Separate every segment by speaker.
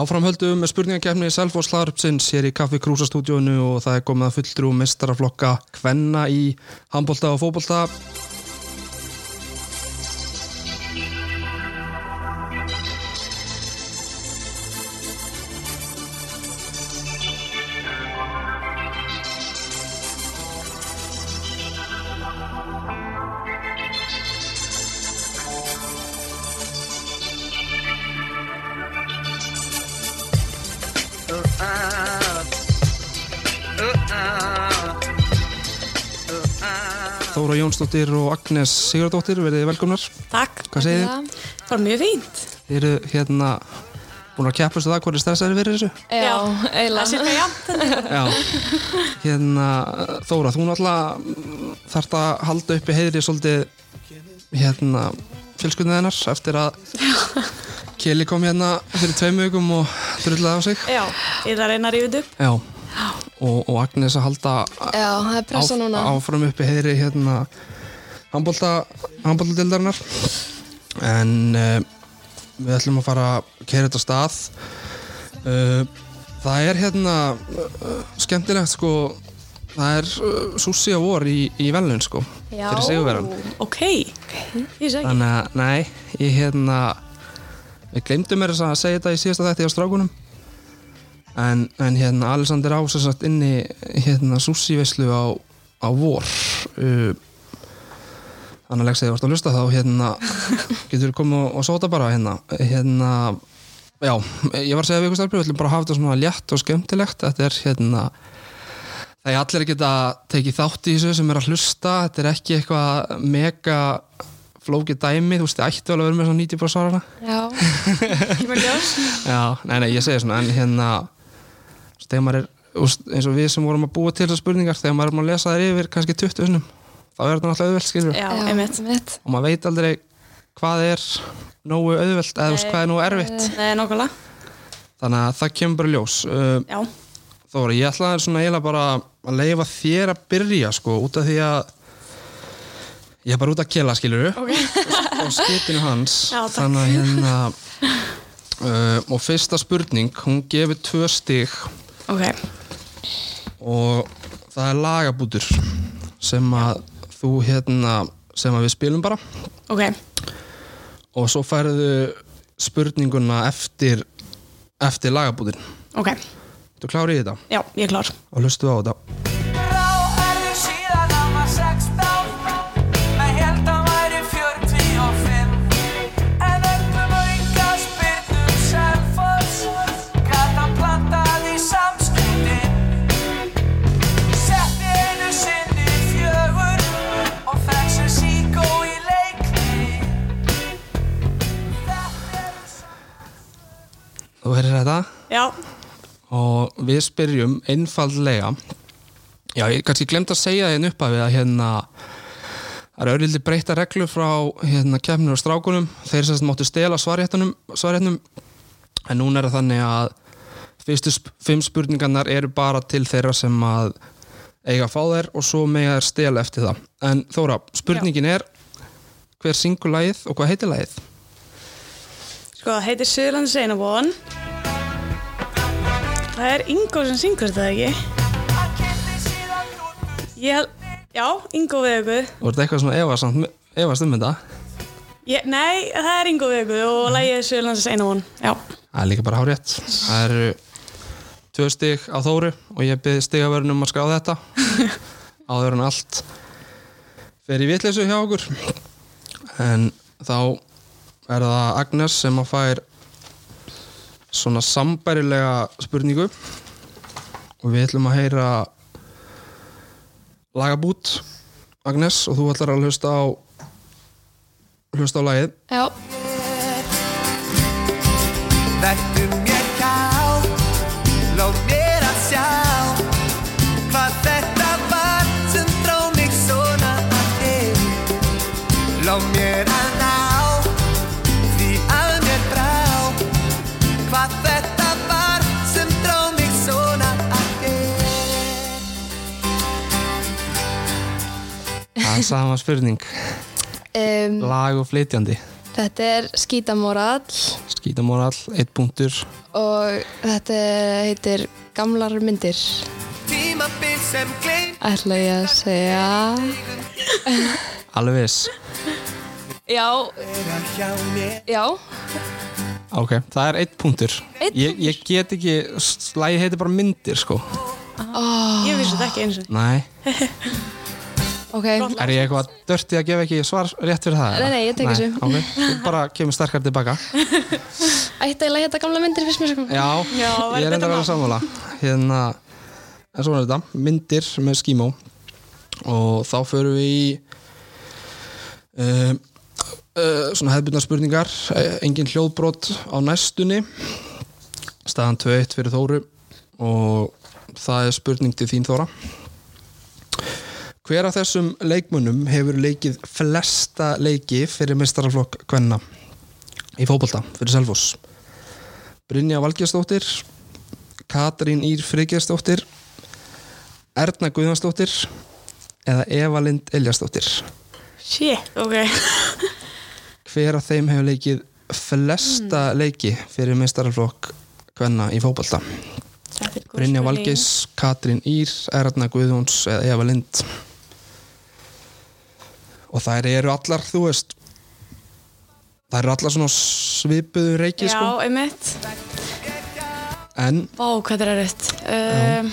Speaker 1: Áframhöldum með spurningakefni Selfos Larpsins hér í Kaffi Krúsa stúdíónu og það er komið að fulltrú mestaraflokka Kvenna í handbólta og fótbólta Þóra Jónsdóttir og Agnes Sigurdóttir verið velkomnar.
Speaker 2: Takk.
Speaker 1: Hvað segið þið?
Speaker 2: Það var mjög fínt.
Speaker 1: Þið eru hérna búin að keppast á það hvað er stressaðir fyrir þessu?
Speaker 3: Já,
Speaker 2: Það
Speaker 3: eiginlega.
Speaker 2: sé hvað jafn.
Speaker 1: Já. Hérna Þóra, þú náttúrulega þarft að halda uppi heiðri svolítið hérna fjölskyldinu hennar eftir að Keli kom hérna fyrir tveim vikum og drullaði á sig.
Speaker 2: Já, ég það reyna að rífið upp.
Speaker 1: Já. Og, og Agnes að halda
Speaker 3: Já, það er pressa
Speaker 1: áf-
Speaker 3: núna.
Speaker 1: áfram uppi heiðri hérna handbóltadildarinnar en uh, við ætlum að fara að kæra þetta af stað uh, það er hérna uh, skemmtilegt sko það er uh, Susi á vor í, í velun sko
Speaker 3: Já.
Speaker 1: fyrir sigurveran
Speaker 2: Ok, ég segi.
Speaker 1: þannig að nei, ég hérna við glemdum mér að segja þetta í síðasta þætti á strákunum en, en hérna Alexander Ás er satt inni hérna Susi veislu á, á vor uh, þannig að leggs eða vart að hlusta þá hérna getur komið og, og sóta bara hérna hérna já, ég var að segja við ykkur stærpið, við ætlum bara að hafa þetta svona létt og skemmtilegt, þetta er hérna það er allir að geta tekið þátt í þessu sem er að hlusta, þetta er ekki eitthvað mega flókið dæmi, þú veist, þið ættu alveg að vera með svona 90% svarana
Speaker 3: Já,
Speaker 2: Kemur ljós.
Speaker 1: Já, nei, nei, ég segi svona en hérna þú veist, þegar maður er, úst, eins og við sem vorum að búa til þessar spurningar, þegar maður er búin að lesa þær yfir kannski 20 sinum, þá er þetta náttúrulega auðvelt skilur
Speaker 2: Já,
Speaker 3: já,
Speaker 2: einmitt.
Speaker 3: einmitt.
Speaker 1: og maður veit aldrei hvað er nógu auðvelt eða þú veist, hvað er nógu erfitt
Speaker 2: Nei, nokkulega.
Speaker 1: þannig að það kemur bara í ljós uh,
Speaker 2: Já,
Speaker 1: Þóra, ég ætlaði svona eiginlega bara að leifa þér að byrja sko, út af því að ég er bara út að kela skilur okay. og skipinu hans
Speaker 2: Já, takk.
Speaker 1: þannig að hérna uh, og fyrsta spurning, hún gefur tvö stig
Speaker 2: ok.
Speaker 1: og það er lagabútur sem að þú hérna sem að við spilum bara
Speaker 2: Ok,
Speaker 1: og svo færðu spurninguna eftir eftir lagabútin
Speaker 2: ok.
Speaker 1: Þú klárið í þetta
Speaker 2: Já, ég er klár.
Speaker 1: og hlustu á þetta
Speaker 4: Grá erðu síðan hann var 16 Menn held hann væri 45 En öllum auka spyrnum Selfoss Gat hann plantað í samskiptin Setti einu sinni fjögur Og fekk sér síkó í leikni Þetta eru
Speaker 1: Þú heyrir þetta
Speaker 2: Já,
Speaker 1: og við spyrjum einfaldlega já, ég kannski glemt að segja þeim upp að við að hérna það eru auðvitað breyta reglu frá hérna kemnur og strákunum þeir sem sagt máttu stela svarjættunum svarjættunum en núna er það þannig að fyrstu sp fimm spurningarnar eru bara til þeirra sem að eiga að fá þær og svo mega þær stela eftir það en Þóra, spurningin er hver syngur lagið og hvað heitir lagið?
Speaker 2: sko, það heitir Suðurlands Einabóðan. Það er Ingo sem syngur þetta ekki.
Speaker 4: Hann kynnti síðan hrútu
Speaker 2: Ég held, já, Ingo við ykkur.
Speaker 1: Þú ert eitthvað svona efasamt, efast um þetta
Speaker 2: Ég, nei, það er Ingo við ykkur og lægið Suðurlands Einabóðan. Já,
Speaker 1: Það er líka bara hárétt. Það eru tvö stig á Þóru og ég byrði stigavörun um að skrá þetta áður en allt fer í vitleysu hjá okkur en þá er það Agnes sem að fær svona sambærilega spurningu og við ætlum að heyra lagabút Agnes og þú ætlar að hlusta á hlusta á lagið
Speaker 3: Já,
Speaker 4: Vertu mér kál, lóð mér að sjá Hvað þetta var sem dró mig svona að þig Lóð mér að ná, því að mér brá Hvað þetta var sem dró mig svona að þig
Speaker 1: Það er sama spurning
Speaker 3: um,
Speaker 1: lag og flytjandi
Speaker 3: þetta er skítamórall.
Speaker 1: skítamorall, eitt punktur
Speaker 3: og þetta heitir Gamlar myndir
Speaker 5: Tímabil sem gleym
Speaker 3: ætla ég að segja
Speaker 1: alveg viss,
Speaker 3: já,
Speaker 5: Þeirra hjá mér
Speaker 3: já,
Speaker 1: ok, það er eitt punktur
Speaker 3: Einn
Speaker 1: ég, ég get ekki, slæði heiti bara myndir sko,
Speaker 2: Ég vissi þetta ekki eins og
Speaker 1: næ
Speaker 3: ok
Speaker 1: er ég eitthvað dörti að gefa ekki svar rétt fyrir það?
Speaker 3: Nei,
Speaker 1: eða?
Speaker 3: nei, ég tek þessu.
Speaker 1: ok, þú bara kemur sterkar tilbaka
Speaker 3: ætti að þetta gamla myndir fyrst mér sko
Speaker 1: já,
Speaker 2: Já, væri
Speaker 1: ég er enda
Speaker 2: betra
Speaker 1: að vera
Speaker 2: mál.
Speaker 1: sammála hérna, en svona er þetta myndir með skímó og þá förum við í uh, uh, svona hefðbundar spurningar uh, engin hljóðbrot á næstunni staðan 2-1 fyrir Þóru og það er spurning til þín Þóra Hver af þessum leikmönnum hefur leikið flesta leiki fyrir mestaraflokk Kvenna í fótbolta fyrir Selfoss? Brynja Valgjarsdóttir Katrín Ír Friðgjarsdóttir Erna Guðvansdóttir eða Eva Lind Eljarsdóttir
Speaker 2: Shit, ok
Speaker 1: Hver af þeim hefur leikið flesta leiki fyrir mestaraflokk Kvenna í fótbolta?
Speaker 2: Þetta er góð
Speaker 1: Brynja
Speaker 2: spurning.
Speaker 1: Valgis, Katrín Ír, Erna Guðjóns eða Eva Lind og þær eru allar þú veist þær eru allar svona svipuðu reiki
Speaker 2: Já,
Speaker 1: sko.
Speaker 2: einmitt
Speaker 1: en
Speaker 2: Vá, hvað er erfitt um,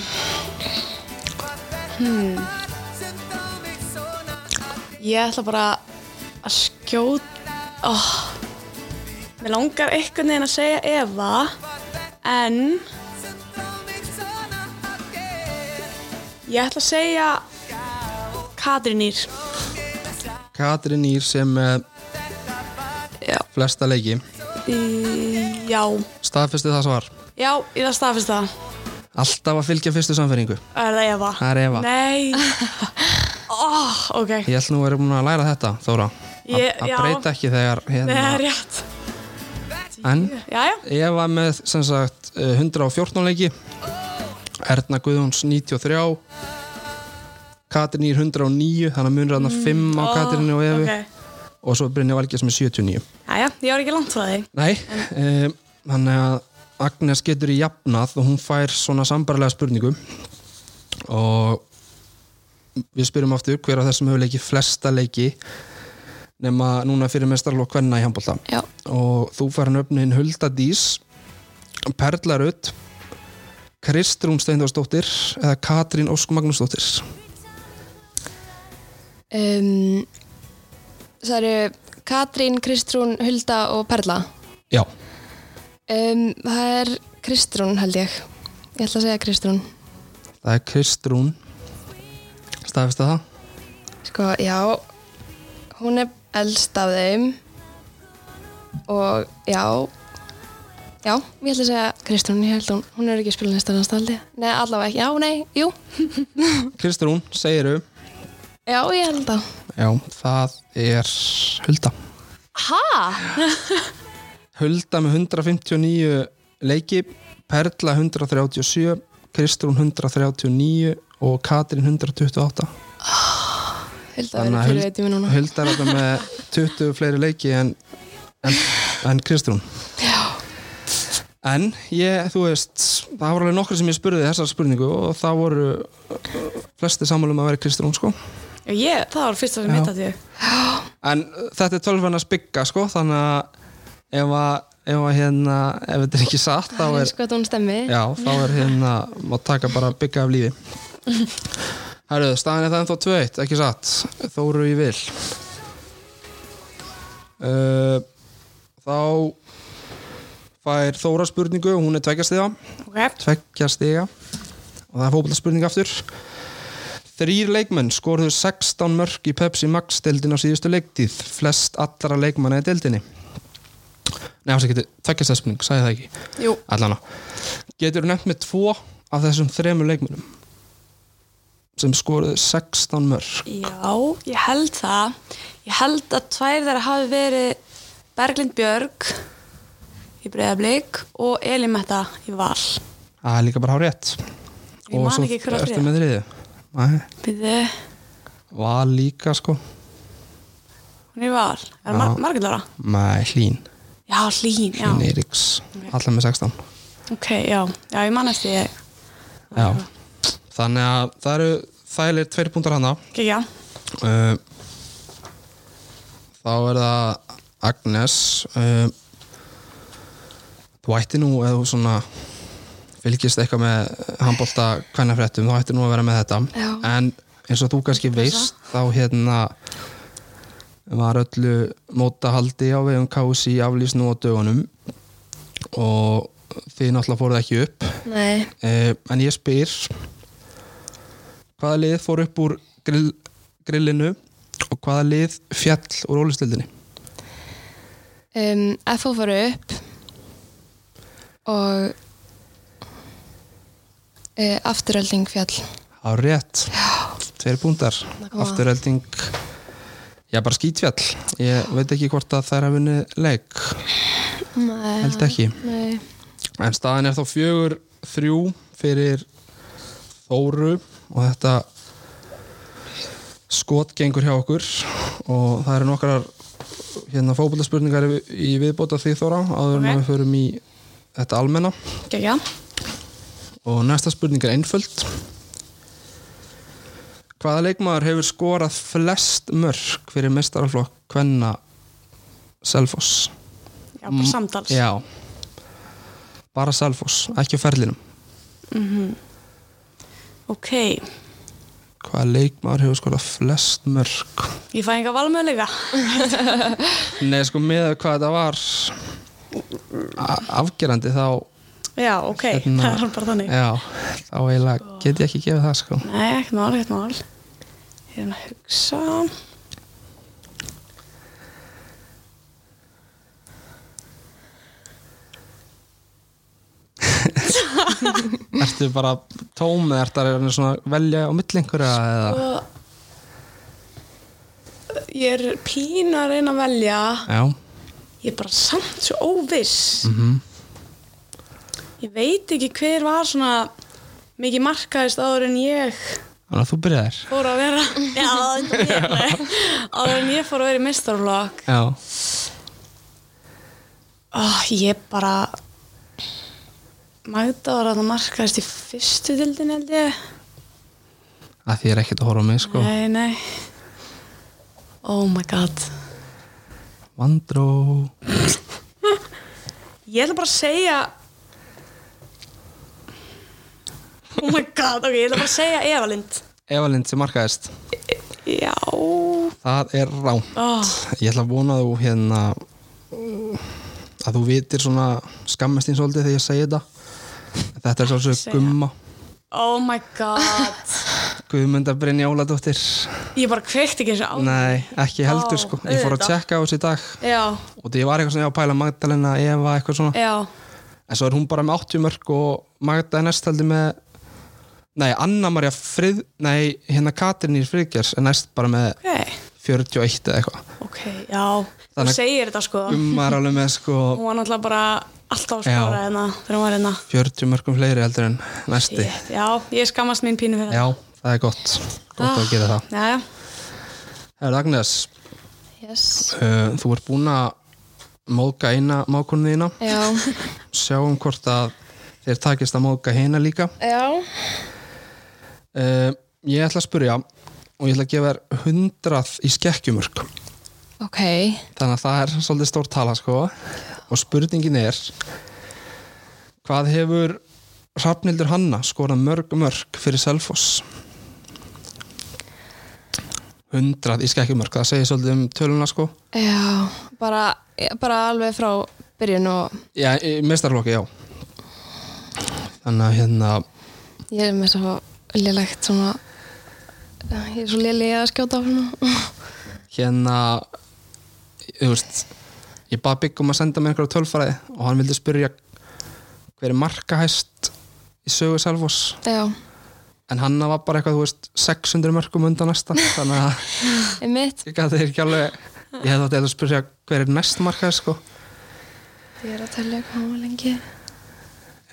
Speaker 2: hmm. Ég ætla bara að skjóta oh. Mér langar einhvern veginn að segja Eva En Ég ætla að segja Katrinir
Speaker 1: Katrín Ír sem með
Speaker 2: Já.
Speaker 1: flesta leiki
Speaker 2: Í- Já,
Speaker 1: staðfesti það svar
Speaker 2: já, ég það staðfist það
Speaker 1: alltaf að fylgja fyrstu samferingu
Speaker 2: Er það Eva?
Speaker 1: Það er Eva.
Speaker 2: Nei oh, Ok,
Speaker 1: ég held nú að vera búin að læra þetta Þóra Að-
Speaker 2: Ég-
Speaker 1: að
Speaker 2: já.
Speaker 1: breyta ekki þegar
Speaker 2: Nei, það er
Speaker 1: hérna.
Speaker 2: rétt
Speaker 1: en
Speaker 2: Jæja,
Speaker 1: Eva með sem sagt eh, 114 leiki Erna Guðjóns 93 Katrin Ír 109 þannig að munur hann 5 á Katrinni og Evu
Speaker 2: Mm, ok.
Speaker 1: og svo Brynja Valgis með 79
Speaker 2: Jæja, ég var ekki langt frá því
Speaker 1: Nei, eh, þannig að Agnes getur í jafnað og hún fær svona sambarlega spurningu og við spyrjum aftur hver af þessum hefur leikið flesta leiki nema núna fyrir mestarlokk kvenna í handbólta
Speaker 3: já,
Speaker 1: og þú fær hann öfnin Hulda Dís Perla Rutt Kristrún Steindórsdóttir eða Katrín Ósk Magnúsdóttir
Speaker 3: um, það eru Katrín, Kristrún, Hulda og Perla
Speaker 1: Já,
Speaker 3: um, það er Kristrún held ég ég ætla að segja Kristrún
Speaker 1: það er Kristrún staðfist það
Speaker 3: Sko, já, hún er elst af þeim og já, já, ég ætla að segja Kristrún, ég held hún, hún er ekki spilin næsta hans taldi. Nei, allavega ekki, já, nei, jú,
Speaker 1: Kristrún, segiru
Speaker 3: já, ég held það.
Speaker 1: Já, það er Hulda
Speaker 3: Ha?
Speaker 1: Hulda með 159 leiki Perla 137 Kristrún 139 og Katrín 128
Speaker 3: Held
Speaker 1: Þannig
Speaker 3: að vera
Speaker 1: að Huld-
Speaker 3: fyrir veit ég mér núna.
Speaker 1: Hulda er þarna með 20 fleiri leiki en, en, en Kristrún En ég, þú veist, það voru alveg nokkru sem ég spurði þessar spurningu og það voru uh, flesti sammálum að vera Kristrún sko.
Speaker 2: Já, ég, það var fyrsta sem
Speaker 1: Já.
Speaker 2: mitt að því
Speaker 1: En uh, þetta er tölvana spikka sko, þannig að ef að, ef að hérna, ef þetta er ekki satt þá
Speaker 3: Það
Speaker 1: er,
Speaker 3: er sko að hún stemmi.
Speaker 1: já, þá er hérna, má taka bara bygga af lífi Herruðu, staðan er það ennþá 2-1, ekki satt Þóru í vil uh, Þá fær Þóra spurningu, hún er tveggjastíða
Speaker 2: Ok,
Speaker 1: tveggja stiga og það er fókbalta spurning aftur Þrýr leikmenn skorðu 16 mörg í Pepsi Max deildin á síðustu leiktíð flest allra leikmanna í deildinni Nei, það getur tveggja stiga spurning, sagði það ekki
Speaker 2: Jú.
Speaker 1: Allana Getur nefnt með tvo af þessum þremur leikmennum sem skorðu 16 mörg
Speaker 2: já, ég held það Ég held að tvær þeirra hafi verið Berglind Björg í Breiðablík og Elin Metta í Val
Speaker 1: Það er líka bara hár rétt
Speaker 2: Ég man ekki hver á
Speaker 1: ertu
Speaker 2: þriðja.
Speaker 1: með þriðju Nei,
Speaker 2: Býðu,
Speaker 1: var líka sko
Speaker 2: hún er í Val Er
Speaker 1: Já.
Speaker 2: mar Margrét Lára?
Speaker 1: Nei, hlín
Speaker 2: já, hlín, já,
Speaker 1: Hlín Eiríks, allar með 16
Speaker 2: ok, já, já, ég manast því
Speaker 1: já. þannig að það eru þælir tveir púntar hana
Speaker 2: ekki, já,
Speaker 1: uh, þá er það Agnes uh, þú ætti nú eða þú svona fylgist eitthvað með handbolta kvennafréttum, þá ætti nú að vera með þetta
Speaker 3: Já.
Speaker 1: en eins og þú kannski veist þá hérna var öllu mótahaldi á vegum KSI aflýst nú á dögunum og þið náttúrulega fóruð ekki upp
Speaker 3: Nei,
Speaker 1: Eh, en ég spyr hvaða lið fór upp úr grill, grillinu og hvaða lið fjall úr ólistildinni
Speaker 3: um, FH fóru upp og uh, afturölding fjall
Speaker 1: á rétt, tveir púntar
Speaker 3: kom að.
Speaker 1: afturölding já bara skítfjall ég veit ekki hvort að þær hafa unni leik
Speaker 3: Nei,
Speaker 1: held ekki
Speaker 3: Nei.
Speaker 1: en staðan er þá fjögur þrjú fyrir Þóru og þetta skot gengur hjá okkur og það eru nokkrar hérna fótbollaspurningar í- í viðbóta því Þóra áður en
Speaker 2: Ok.
Speaker 1: við förum í þetta almenna
Speaker 2: ekki, já,
Speaker 1: og næsta spurning er einföld Hvaða leikmaður hefur skorað flest mörk fyrir mestaraflokk hvenna Selfoss?
Speaker 2: já, bara samtals,
Speaker 1: Mm, Já Bara Selfoss, ekki á ferlinum
Speaker 2: ok,
Speaker 1: Hvaða leikmaður hefur skorað flest mörk?
Speaker 2: ég fæ enga valmöðleika,
Speaker 1: Nei, sko, með hvað þetta var a- afgerandi þá
Speaker 2: já, ok,
Speaker 1: Hérna-
Speaker 2: það er bara þannig,
Speaker 1: Já, þá eiginlega get ég ekki gefið það, sko
Speaker 2: nei, ekkert mál, ekkert mál, ég er að hugsa,
Speaker 1: Ertu bara tóm eða ertu að reyna svona að velja á milli einhverja eða
Speaker 2: og ég er pínu að reyna að velja,
Speaker 1: Já,
Speaker 2: ég er bara samt svo óviss ég veit ekki hver var svona mikið markaðist áður en ég
Speaker 1: þannig að þú byrjar
Speaker 2: fór að vera já, það er ekki mér, nei. áður en ég fór að vera í mistarflokk
Speaker 1: Já,
Speaker 2: oh, ég bara Magda var að markaðist í fyrstu dildin held ég
Speaker 1: að því er ekkert að horfa á mig, sko
Speaker 2: nei, nei oh my god
Speaker 1: Vandró
Speaker 2: ég ætla bara að segja oh my god, ok, ég ætla bara að segja Evalind
Speaker 1: Evalind sem markaðist
Speaker 2: já
Speaker 1: Það er rámt
Speaker 2: Oh,
Speaker 1: Ég ætla að vona að þú hérna að þú vitir svona skammast þín svolítið þegar ég segi þetta Þetta er svolítið
Speaker 2: Segja.
Speaker 1: gumma
Speaker 2: oh my god
Speaker 1: Guðmunda Brynja Óladóttir
Speaker 2: Ég bara kveikt ekki þessu á
Speaker 1: Nei, ekki heldur
Speaker 2: Vá,
Speaker 1: sko Ég fór að
Speaker 2: auðvitað.
Speaker 1: tjekka á þessu í dag
Speaker 2: Já,
Speaker 1: og því ég var eitthvað svona já, pæla Magdalena, Eva, eitthvað svona
Speaker 2: já,
Speaker 1: en svo er hún bara með 80 mörg og Magdalena næst heldur með nei, Anna Maria Frið nei, hérna Katrinir Friðgjars er næst bara með
Speaker 2: ok
Speaker 1: 41 eða eitthvað
Speaker 2: Ok, já Þú
Speaker 1: Þannig- Um-
Speaker 2: segir þetta sko
Speaker 1: Gumma er alveg með sko
Speaker 2: Hún var náttúrulega bara alltaf að
Speaker 1: Já.
Speaker 2: skora hérna þegar hún var hérna
Speaker 1: 40 mörgum fleiri heldur en næsti
Speaker 2: Shit, Já, ég skammast mín pínu fyrir
Speaker 1: já, það er gott gott að gera það
Speaker 2: Já, já,
Speaker 1: Herra Agnes,
Speaker 3: Yes.
Speaker 1: uh, þú ert búin að móðga eina mákunni þína
Speaker 3: Já,
Speaker 1: sjáum hvort að þeir takist að móðga hina líka
Speaker 3: já,
Speaker 1: uh, ég ætla að spurja og ég ætla að gefa þér 100 í skekkjumörk
Speaker 3: ok,
Speaker 1: þannig að það er svolítið stór tala sko. og spurningin er hvað hefur Hrafnildur Hanna skorað mörg mörg fyrir Selfoss 100 í skekkjumörk það segir svolítið um töluna sko
Speaker 3: já, bara, bara alveg frá byrjun og
Speaker 1: já, í mestarlokki, já þannig að hérna
Speaker 3: ég er með svo lélegt svona, ég er svo léleg í að skjóta á svona.
Speaker 1: hérna þú veist ég bað Bygg um að senda mér einhverja tölfræði og hann vildi spyrja hver er markahæst í sögu Selfoss
Speaker 3: Já,
Speaker 1: en hann var bara eitthvað, þú veist, 600 mörgum undan næsta, þannig að
Speaker 3: einmitt.
Speaker 1: ég gæti ekki alveg ég hefði átti að spyrja hver er næst markað sko.
Speaker 3: Ég er að tellja hvað hún var lengi.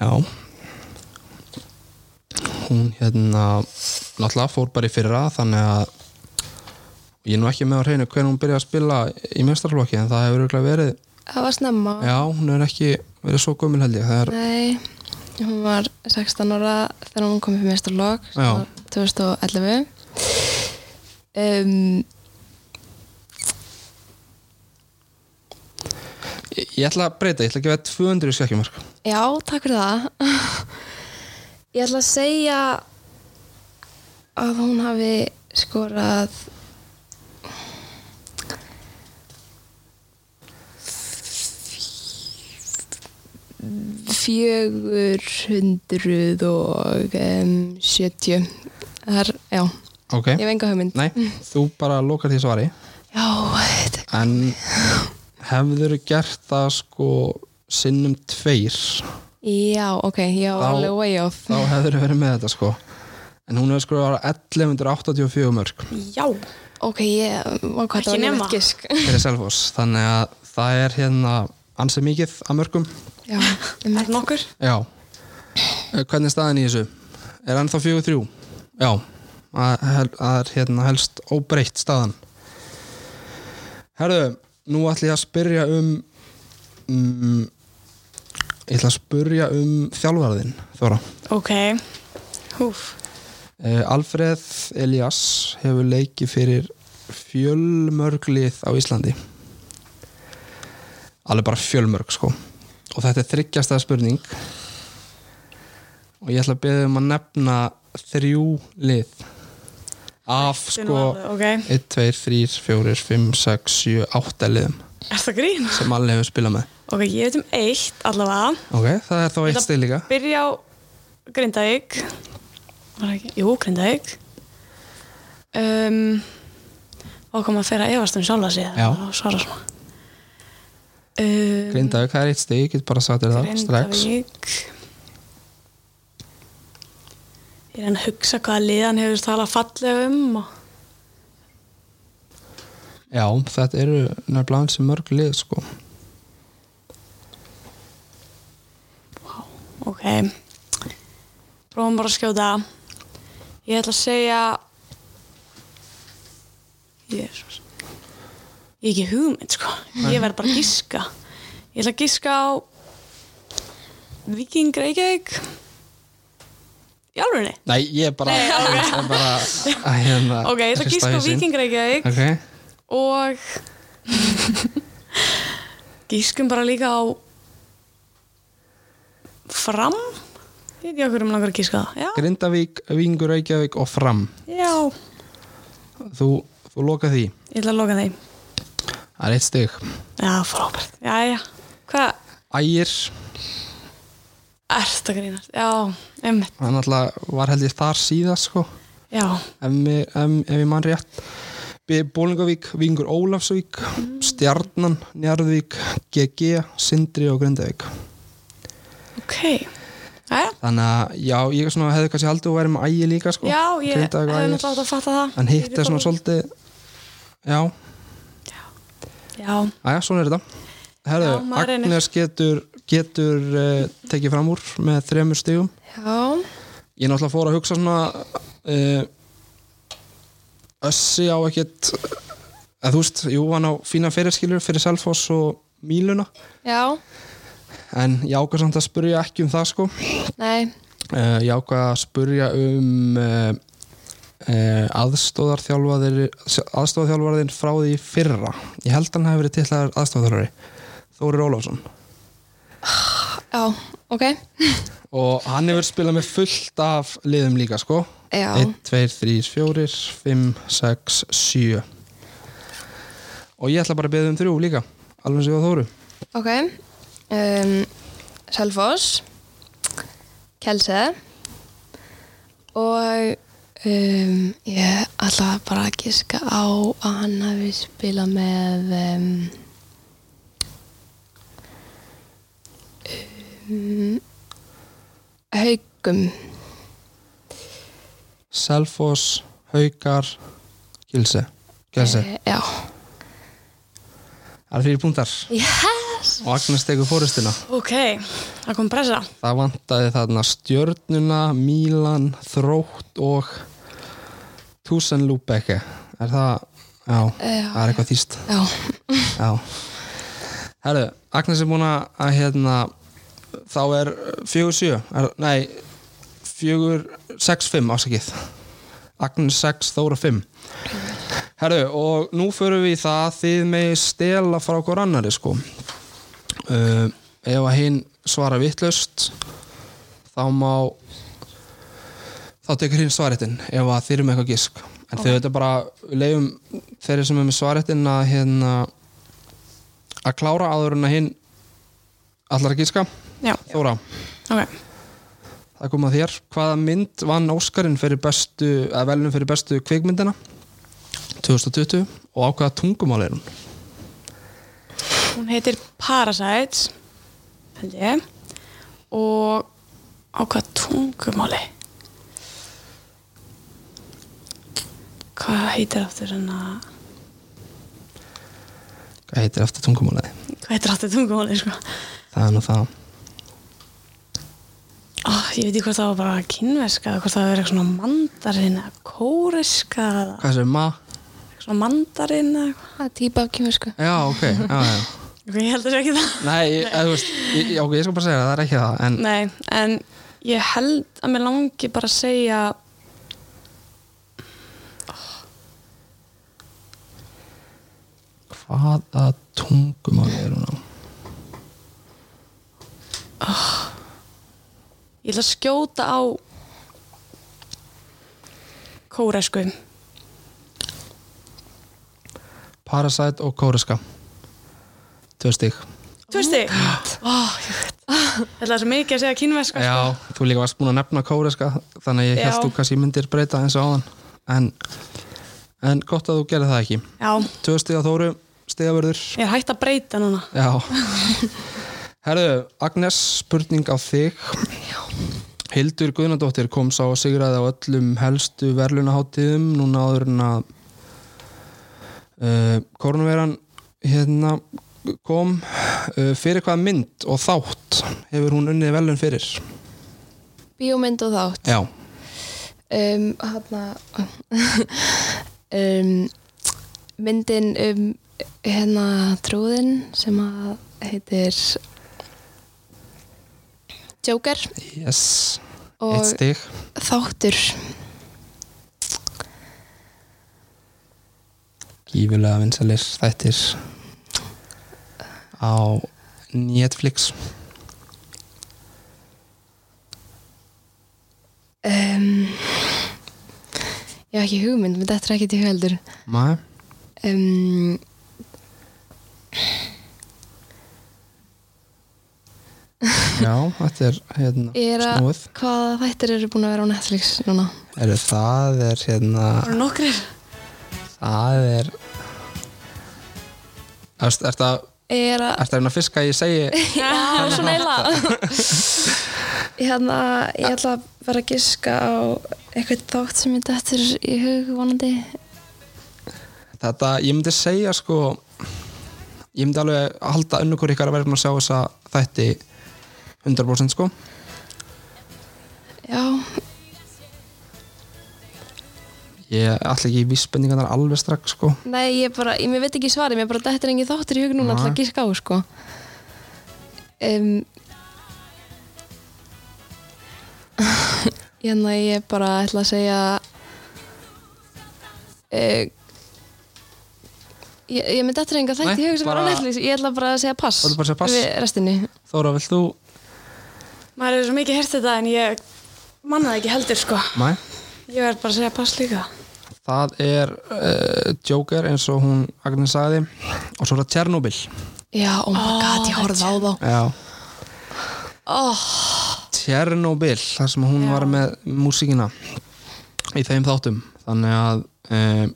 Speaker 1: já hún hérna náttúrulega fór bara í fyrra þannig að ég er nú ekki með á hreinu hvernig hún byrjaði að spila í mestarflokki en það hefur örugglega verið
Speaker 3: það var snemma
Speaker 1: Já, hún hefur ekki verið svo gömul held ég Það er,
Speaker 3: Nei, hún var 16 ára þegar hún kom upp í mestarlokk
Speaker 1: Já.
Speaker 3: 2011 um,
Speaker 1: ég, ég ætla að breyta, ég ætla að gefa 200 skekkjumark
Speaker 3: Já, takk fyrir það Ég ætla að segja að hún hafi skorað 470 og um, 70 Það er, já,
Speaker 1: Ok,
Speaker 3: ég hef enga hugmynd
Speaker 1: nei, þú bara lokar því svari
Speaker 3: Já, þetta er
Speaker 1: En hefður gert það sko sinnum tveir
Speaker 3: Já, ok, já,
Speaker 1: Þá-
Speaker 3: alveg way off
Speaker 1: þá hefður verið með þetta sko En hún hefur sko 1184 mörg
Speaker 2: Já,
Speaker 3: Ok, ég, og hvað
Speaker 2: Ekki
Speaker 3: það var
Speaker 2: nema.
Speaker 3: létt gisk
Speaker 1: fyrir Selfoss Þannig að það er hérna ansið mikið að mörgum
Speaker 3: Já,
Speaker 2: er það nokkur?
Speaker 1: Já Eh, Hvernig er staðan í þessu? Er hann þá 4-3? Já Það hel- það er hérna helst óbreytt staðan Herðu, nú ætla ég að spyrja um, um Ég ætla að spyrja um þjálfaraðinn, Þóra
Speaker 2: Ok, húf
Speaker 1: Eh, Alfreð Elias hefur leikið fyrir fjölmörglið á Íslandi alveg bara fjölmörg sko og þetta er þryggjasta spurning og ég ætla að beða um að nefna þrjú lið af sko
Speaker 2: Ok,
Speaker 1: 1, 2, 3, 4, 5, 6, 7, 8 liðum
Speaker 2: er það grín?
Speaker 1: sem allir hefur spilað með
Speaker 2: Ok, ég veit um eitt allavega
Speaker 1: ok, það er þá eitt
Speaker 2: ætla-
Speaker 1: stil líka
Speaker 2: Byrja á Grindavík Var það ekki? Jú, Grindavík um, Og kom að fyrir að efast um sjálfa sig
Speaker 1: Já.
Speaker 2: og svara svona um,
Speaker 1: Grindavík, það er eitt stig, ég get bara sagt þér það strax
Speaker 2: Grindavík Ég er enn að hugsa hvaða liðan hefur talað fallega um og...
Speaker 1: Já, þetta eru nefnilega hans mörg lið sko.
Speaker 2: Ok Prófum bara að skjóta Ég ætla að segja Jésus Ég er ekki hugmynd sko Ég verð bara að giska Ég ætla að giska á Viking Reykjavík Í alvegni
Speaker 1: Nei, ég er bara, Nei, okay. er bara að hérna
Speaker 2: Ok, ég ætla
Speaker 1: hrista
Speaker 2: að giska á
Speaker 1: hausinn.
Speaker 2: Viking Reykjavík
Speaker 1: Ok,
Speaker 2: Og Gískum bara líka á Fram Ég veit ekki okkur um langar að gíska það Já,
Speaker 1: Grindavík, Vingur, Reykjavík og Fram
Speaker 2: já
Speaker 1: Þú, þú loka því,
Speaker 2: Ég ætla að loka þeim.
Speaker 1: það er eitt stig
Speaker 2: Já, frábært. Já, já. Hvað
Speaker 1: Ægir,
Speaker 2: er þetta grínast? Já, einmitt.
Speaker 1: hann alltaf var held ég þar síðast sko
Speaker 2: Já,
Speaker 1: ef, mér, ef, ef ég man rétt B- Bólingavík, Vingur Ólafsvík Stjarnan, Njarðvík GG, Sindri og Grindavík
Speaker 2: ok. Já, já.
Speaker 1: Þannig að, já, ég svona hefði kannski haldið að vera með ægi líka sko
Speaker 2: Já, ég hefði
Speaker 1: Grindavík og Ægir.
Speaker 2: náttúrulega átt að fatta það.
Speaker 1: En hitt er svona
Speaker 2: svolítið.
Speaker 1: svolítið Já,
Speaker 2: Já,
Speaker 1: aðja, svona er þetta Herðu,
Speaker 2: Já, maður reynir.
Speaker 1: Agnes getur, getur uh, tekið fram úr með þremur stigum
Speaker 3: já,
Speaker 1: Ég náttúrulega fór að hugsa svona uh, Össi á ekkert að þú veist, jú, hann á fína fyrirskilur fyrir Selfoss og Míluna
Speaker 3: já,
Speaker 1: en ég ákvað samt að spurja ekki um það sko
Speaker 3: nei,
Speaker 1: uh, ég ákvað að spurja um uh, uh, aðstóðarþjálfaðir aðstóðarþjálfaðin frá því fyrra ég held hann hafi verið tillaður aðstóðarþjálfari Þóri Ólafsson
Speaker 3: já, ok,
Speaker 1: og hann hefur spilað með fullt af liðum líka sko
Speaker 3: Já.
Speaker 1: 1, 2, 3, 4, 5, 6, 7 og ég ætla bara að beða um þrjú líka alveg eins og ég á Þóru
Speaker 3: ok. Um, Selfoss, Kelse og um, ég ætla bara að giska á að hann hafi spilað með um, um, haugum.
Speaker 1: Selfoss, Haukar Gilse Gilse,
Speaker 3: Eh, já.
Speaker 1: það er fyrir púntar
Speaker 3: Yes!
Speaker 1: og Agnes tekur fórustina
Speaker 2: ok. Það kom pressa.
Speaker 1: Það vantaði þarna stjörnuna, Mílan, Þrótt og Tusen
Speaker 3: eh,
Speaker 1: Ah. Lúbeke Er það, já, það er eitthvað þýst
Speaker 3: Já,
Speaker 1: Já Herru, Agnes er búin að að, hérna, þá er fjögur sjö, er, nei fjögur, sex, fimm ásakið Agnes 6, Þóra 5 Herru, og nú förum við í það að þið megi stela frá okkur annari sko uh, ef að hinn svara vittlust þá má þá tekur hinn svaretin ef að þeir eru með eitthvað gísk en þau þetta bara leiðum þeirri sem er með svaretin að hérna að klára áður en að hinn allar að gíska
Speaker 2: Já,
Speaker 1: Þóra,
Speaker 2: ok.
Speaker 1: það kom að þér hvaða mynd vann Óskarinn fyrir bestu eða velnum fyrir bestu kvikmyndina 2020 og á hvaða tungumál er hún
Speaker 2: Hún heitir Parasites, held ég, og á hvað tungumáli? Hvað heitir aftur svona,
Speaker 1: hvað heitir eftir tungumálaði
Speaker 2: hvað heitir aftur tungumáli, sko?
Speaker 1: það er nú það
Speaker 2: Oh, ég veit ekki hvort það var bara kynverska eða hvort það var eitthvað svona mandarin eða kóriska eða
Speaker 1: hvað sem ma?
Speaker 2: eitthvað svona mandarin eða eitthvað.
Speaker 3: Það er típa af kýmversku.
Speaker 1: já ok, já já
Speaker 2: Ok, Ég held að það ekki það.
Speaker 1: nei, ég- eða, þú veist, ég, ég, ok, ég skal bara segja það, það er ekki það en
Speaker 2: Nei, en ég held að mér langi bara að segja
Speaker 1: hvaða tungumáli er hún á?
Speaker 2: ég ætla að skjóta á kóresku
Speaker 1: Parasite og Kóreska tvö stík
Speaker 2: Þú veist þig? Oh, ég veit. Þetta er svo mikið að segja kínverska sko.
Speaker 1: já, þú líka varst búin að nefna Kóreska þannig að ég
Speaker 2: Já.
Speaker 1: held þú kannski myndir breyta eins og áðan en, en gott að þú gerir það ekki
Speaker 2: Já,
Speaker 1: tvö stík á Þóru, stíðavörður
Speaker 2: ég er hægt að breyta núna
Speaker 1: já herðu, Agnes, spurning á þig Hildur Guðnadóttir kom sá og sigraði á öllum helstu verðlunaháttíðum núna áður en að uh, koronaviran hérna kom uh, fyrir hvaða mynd og þátt hefur hún unnið verðlun fyrir
Speaker 3: Bíómynd og þátt.
Speaker 1: já,
Speaker 3: Um, hana, um, myndin um hérna trúðin sem að heitir Joker
Speaker 1: yes eitt
Speaker 3: og
Speaker 1: stig
Speaker 3: þáttur
Speaker 1: gífilega vinsalir þættir á Netflix
Speaker 3: um, ég hef ekki hugmynd menn þetta er ekkert í hug heldur
Speaker 1: maður
Speaker 3: um,
Speaker 1: já, þetta er hérna
Speaker 3: er að
Speaker 1: snúið
Speaker 3: hvaða þættir eru búin að vera á Netflix núna
Speaker 1: Eru það er hérna
Speaker 2: Það eru nokkrir
Speaker 1: það er Erst ertu að
Speaker 3: er að
Speaker 1: ertu að reyna að fiska að ég segi
Speaker 3: Já, svona eiginlega Hérna, ég ætla að vera að giska á eitthvað þátt sem ég dættur í hug vonandi
Speaker 1: þetta, ég myndi segja sko ég myndi alveg halda önnugur ykkar að vera búin að sjá þessa þætti 100% sko
Speaker 3: Já,
Speaker 1: ég ætla ekki í vísbendingarnar alveg strax sko
Speaker 3: nei, ég bara, ég mér veit ekki svarið mér bara dættur engin þáttur í hug núna
Speaker 1: Nei.
Speaker 3: ætla að giska á, sko um, Hérna, ég bara ætla að segja uh, Ég, ég myndi eftir enga þætt
Speaker 1: Nei,
Speaker 3: í hug sem var á
Speaker 1: bara-
Speaker 3: Netflix Ég ætla bara að segja pass
Speaker 1: Þú ætlar bara að segja pass?
Speaker 3: Við restinni
Speaker 1: Þóra, vilt þú?
Speaker 2: Maður er svo mikið hert þetta en ég manna það ekki heldur sko
Speaker 1: Mæ?
Speaker 2: Ég verð bara að segja pass líka
Speaker 1: Það er uh, Joker eins og hún Agnes sagði og svo er það Tjernobyl
Speaker 3: Já, oh my god, ég horfði á þá
Speaker 1: Já
Speaker 3: oh,
Speaker 1: Tjernobyl þar sem hún
Speaker 2: Já.
Speaker 1: var með músíkina í þeim þáttum þannig að um,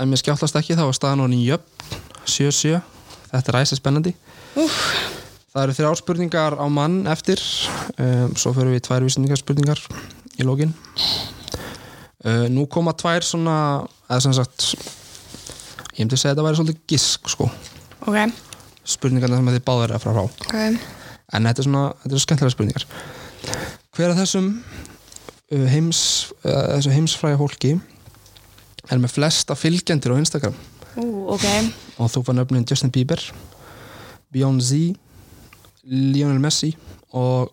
Speaker 1: ef mér skjáttlast ekki þá er staðan hún í jöfn 7-7, þetta er æsi spennandi Úf. það eru þrjár spurningar á mann eftir um, svo förum við í tvær vísendingarspurningar í lókin uh, nú koma tvær svona eða sem sagt ég myndi segja að þetta væri svolítið gisk sko
Speaker 2: Ok,
Speaker 1: spurningarna sem þið báður að frá frá
Speaker 3: okay.
Speaker 1: En þetta er svona, þetta er skemmtilega spurningar Hver af þessum uh, heims, uh, þessu heimsfræja hólki er með flesta fylgjendur á Instagram
Speaker 2: ú, ok
Speaker 1: og þú fann öfnin Justin Bieber Beyoncé Lionel Messi og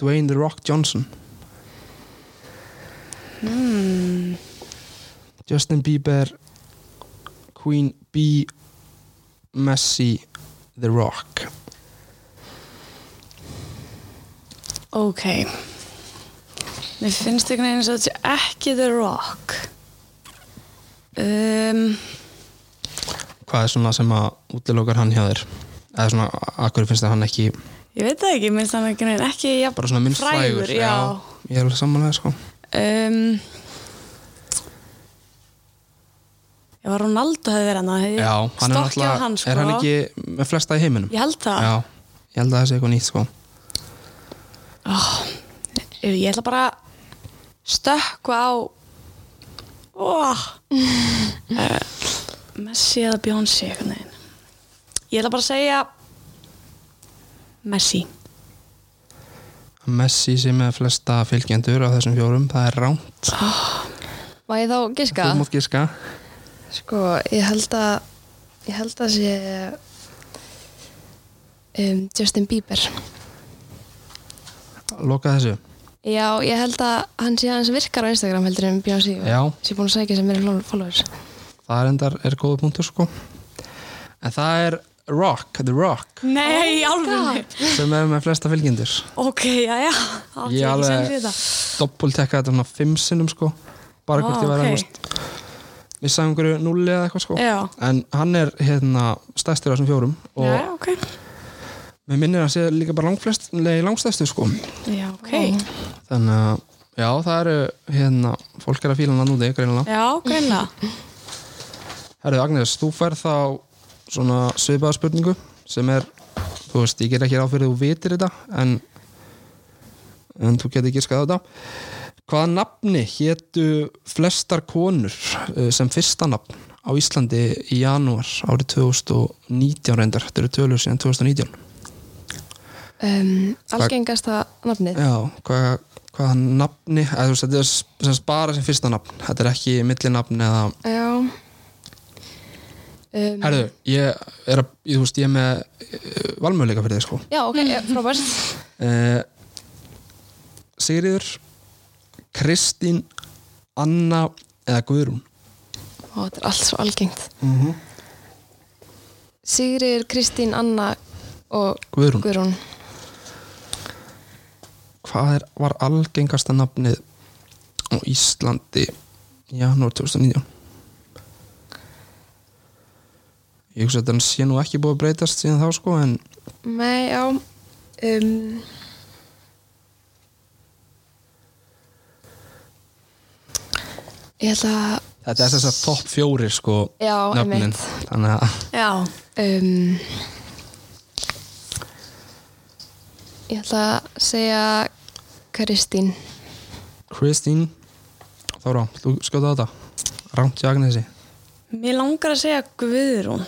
Speaker 1: Dwayne The Rock Johnson
Speaker 2: Hmm,
Speaker 1: Justin Bieber Queen B Messi The Rock
Speaker 2: Ok Mér finnst einhvern veginn eins og þetta er ekki The Rock um,
Speaker 1: Hvað er svona sem að útilokar hann hjá þér? Eða svona, akkur finnst þér hann ekki
Speaker 2: Ég veit það ekki, minnst hann einhvern veginn ekki jafn
Speaker 1: bara svona minnst frægur,
Speaker 2: frægur, já.
Speaker 1: Ég er alveg samanlega sko
Speaker 2: Um, ég var Ronaldo hefði verið hann að hefði
Speaker 1: Já, hann er
Speaker 2: stokkið á
Speaker 1: náttúrulega,
Speaker 2: hann sko.
Speaker 1: er hann ekki með flesta í heiminum?
Speaker 2: Ég held það.
Speaker 1: Já, ég held að það sé eitthvað nýtt sko
Speaker 2: Ég ætla bara að stökkva á oh. Eh, Messi eða Beyoncé einhvern veginn. Ég ætla bara að segja Messi.
Speaker 1: Messi sem er flesta fylgjendur á þessum fjórum, það er ránt
Speaker 3: Má ég þá giska?
Speaker 1: Þú mátt gíska
Speaker 3: Sko, ég held að ég held að sé um, Justin Bieber
Speaker 1: Loka þessu
Speaker 3: Já, ég held að hann sé aðeins virkar á Instagram heldur en Beyoncé og
Speaker 1: Já.
Speaker 3: sé búin að sækja sem meira followers
Speaker 1: Það er endar, er góða punktur sko En það er Rock, The Rock
Speaker 2: Nei, oh alveg.
Speaker 1: sem er með flesta fylgjendur
Speaker 2: Ok, já, já. Átti
Speaker 1: Ég
Speaker 2: ekki sem
Speaker 1: alveg
Speaker 2: fyrir þetta.
Speaker 1: doppultekka þetta svona fimm sinnum sko bara
Speaker 2: Vá,
Speaker 1: hvort ég var
Speaker 2: ok.
Speaker 1: okay. einhvers missa einhverju nulli eða eitthvað sko
Speaker 2: Já.
Speaker 1: en hann er hérna stærstur af þessum fjórum og
Speaker 2: Já, ok.
Speaker 1: mér minnir að hann sé líka bara langflest nei, langstærstur sko
Speaker 2: Já, ok.
Speaker 1: þannig að já það eru hérna fólk er að fíla hann úti greinilega
Speaker 2: Já, greinlega.
Speaker 1: Herðu Agnes, þú færð þá svona svipaða spurningu sem er þú veist, ég ger ekki ráð fyrir að þú vitir þetta en en þú getur gískað á þetta hvaða nafni hétu flestar konur eh, sem fyrsta nafn á Íslandi í janúar árið 2019 reyndar, þetta eru tölur síðan 2019
Speaker 3: um, Algengasta nafnið
Speaker 1: já, hvað, hvaða nafni eða þú veist, þetta er s- sem sagt bara sem fyrsta nafn þetta er ekki millinafn eða
Speaker 3: Já um,
Speaker 1: herðu, ég er að, ég, þú veist, ég er með valmöðleika fyrir þig sko
Speaker 3: Já, ok, mm. frábært
Speaker 1: Eh, Sigriður Eh, Kristín Anna eða Guðrún
Speaker 3: Ó, þetta er allt svo algengt
Speaker 1: Mhm.
Speaker 3: Sigriður, Kristín, Anna og
Speaker 1: Guðrún.
Speaker 3: Guðrún.
Speaker 1: hvað er, var algengasta nafnið á Íslandi í janúar 2019 ég hugsa að hann sé nú ekki búið að breytast síðan þá sko en
Speaker 3: Nei, já um, Ég held að
Speaker 1: þetta er þess að topp fjórir sko
Speaker 3: Já,
Speaker 1: nöfnin
Speaker 3: einmitt.
Speaker 1: þannig að
Speaker 2: Já.
Speaker 3: um, Ég ætla að segja Kristín
Speaker 1: Kristín Þóra, þú skjóta á þetta rámt í Agnesi
Speaker 2: Mér langar að segja Guðrún.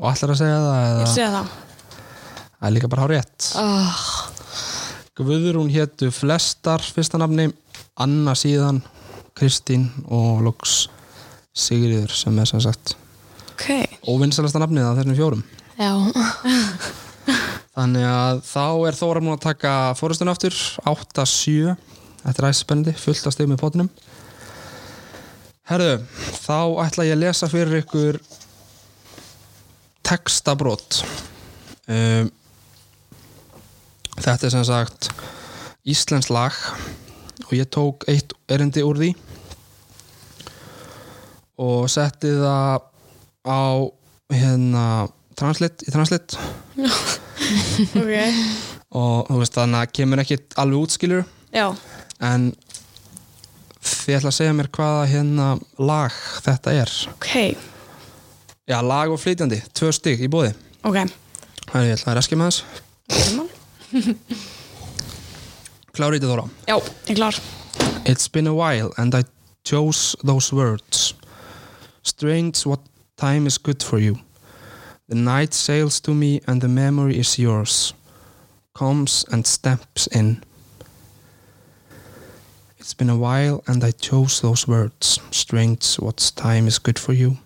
Speaker 1: og ætlar að segja það
Speaker 2: Ég
Speaker 1: eða
Speaker 2: segja það.
Speaker 1: það er líka bara hár rétt
Speaker 3: oh,
Speaker 1: Guðrún héttu flestar fyrsta nafni, Anna síðan Kristín og Lux Sigriður sem er sem sagt
Speaker 2: Ok.
Speaker 1: óvinnselasta nafnið af þessum fjórum
Speaker 3: Já
Speaker 1: þannig að þá er Þóra múin að taka fórustun aftur, 8-7 þetta er æsspennandi, fullt að stegum í potnum Herðu, þá ætla ég að lesa fyrir ykkur textabrót um, Þetta er sem sagt Íslensk lag og ég tók eitt erindi úr því og setti það á hérna translate, í translate
Speaker 2: Ok.
Speaker 1: og þú veist þannig að kemur ekki alveg útskilur
Speaker 2: Já.
Speaker 1: en þið ætla að segja mér hvaða hérna lag þetta er
Speaker 2: Ok.
Speaker 1: já lag og flytjandi, tvö stygg í bóði
Speaker 2: Ok.
Speaker 1: það er ég ætla að reskja með þess klárið þetta þóra
Speaker 2: Já, ég er klár.
Speaker 1: It's been a while and I chose those words. Strange what time is good for you. The night sails to me and the memory is yours. Comes and steps in. It's been a while and I chose those words. Strange what time is good for you.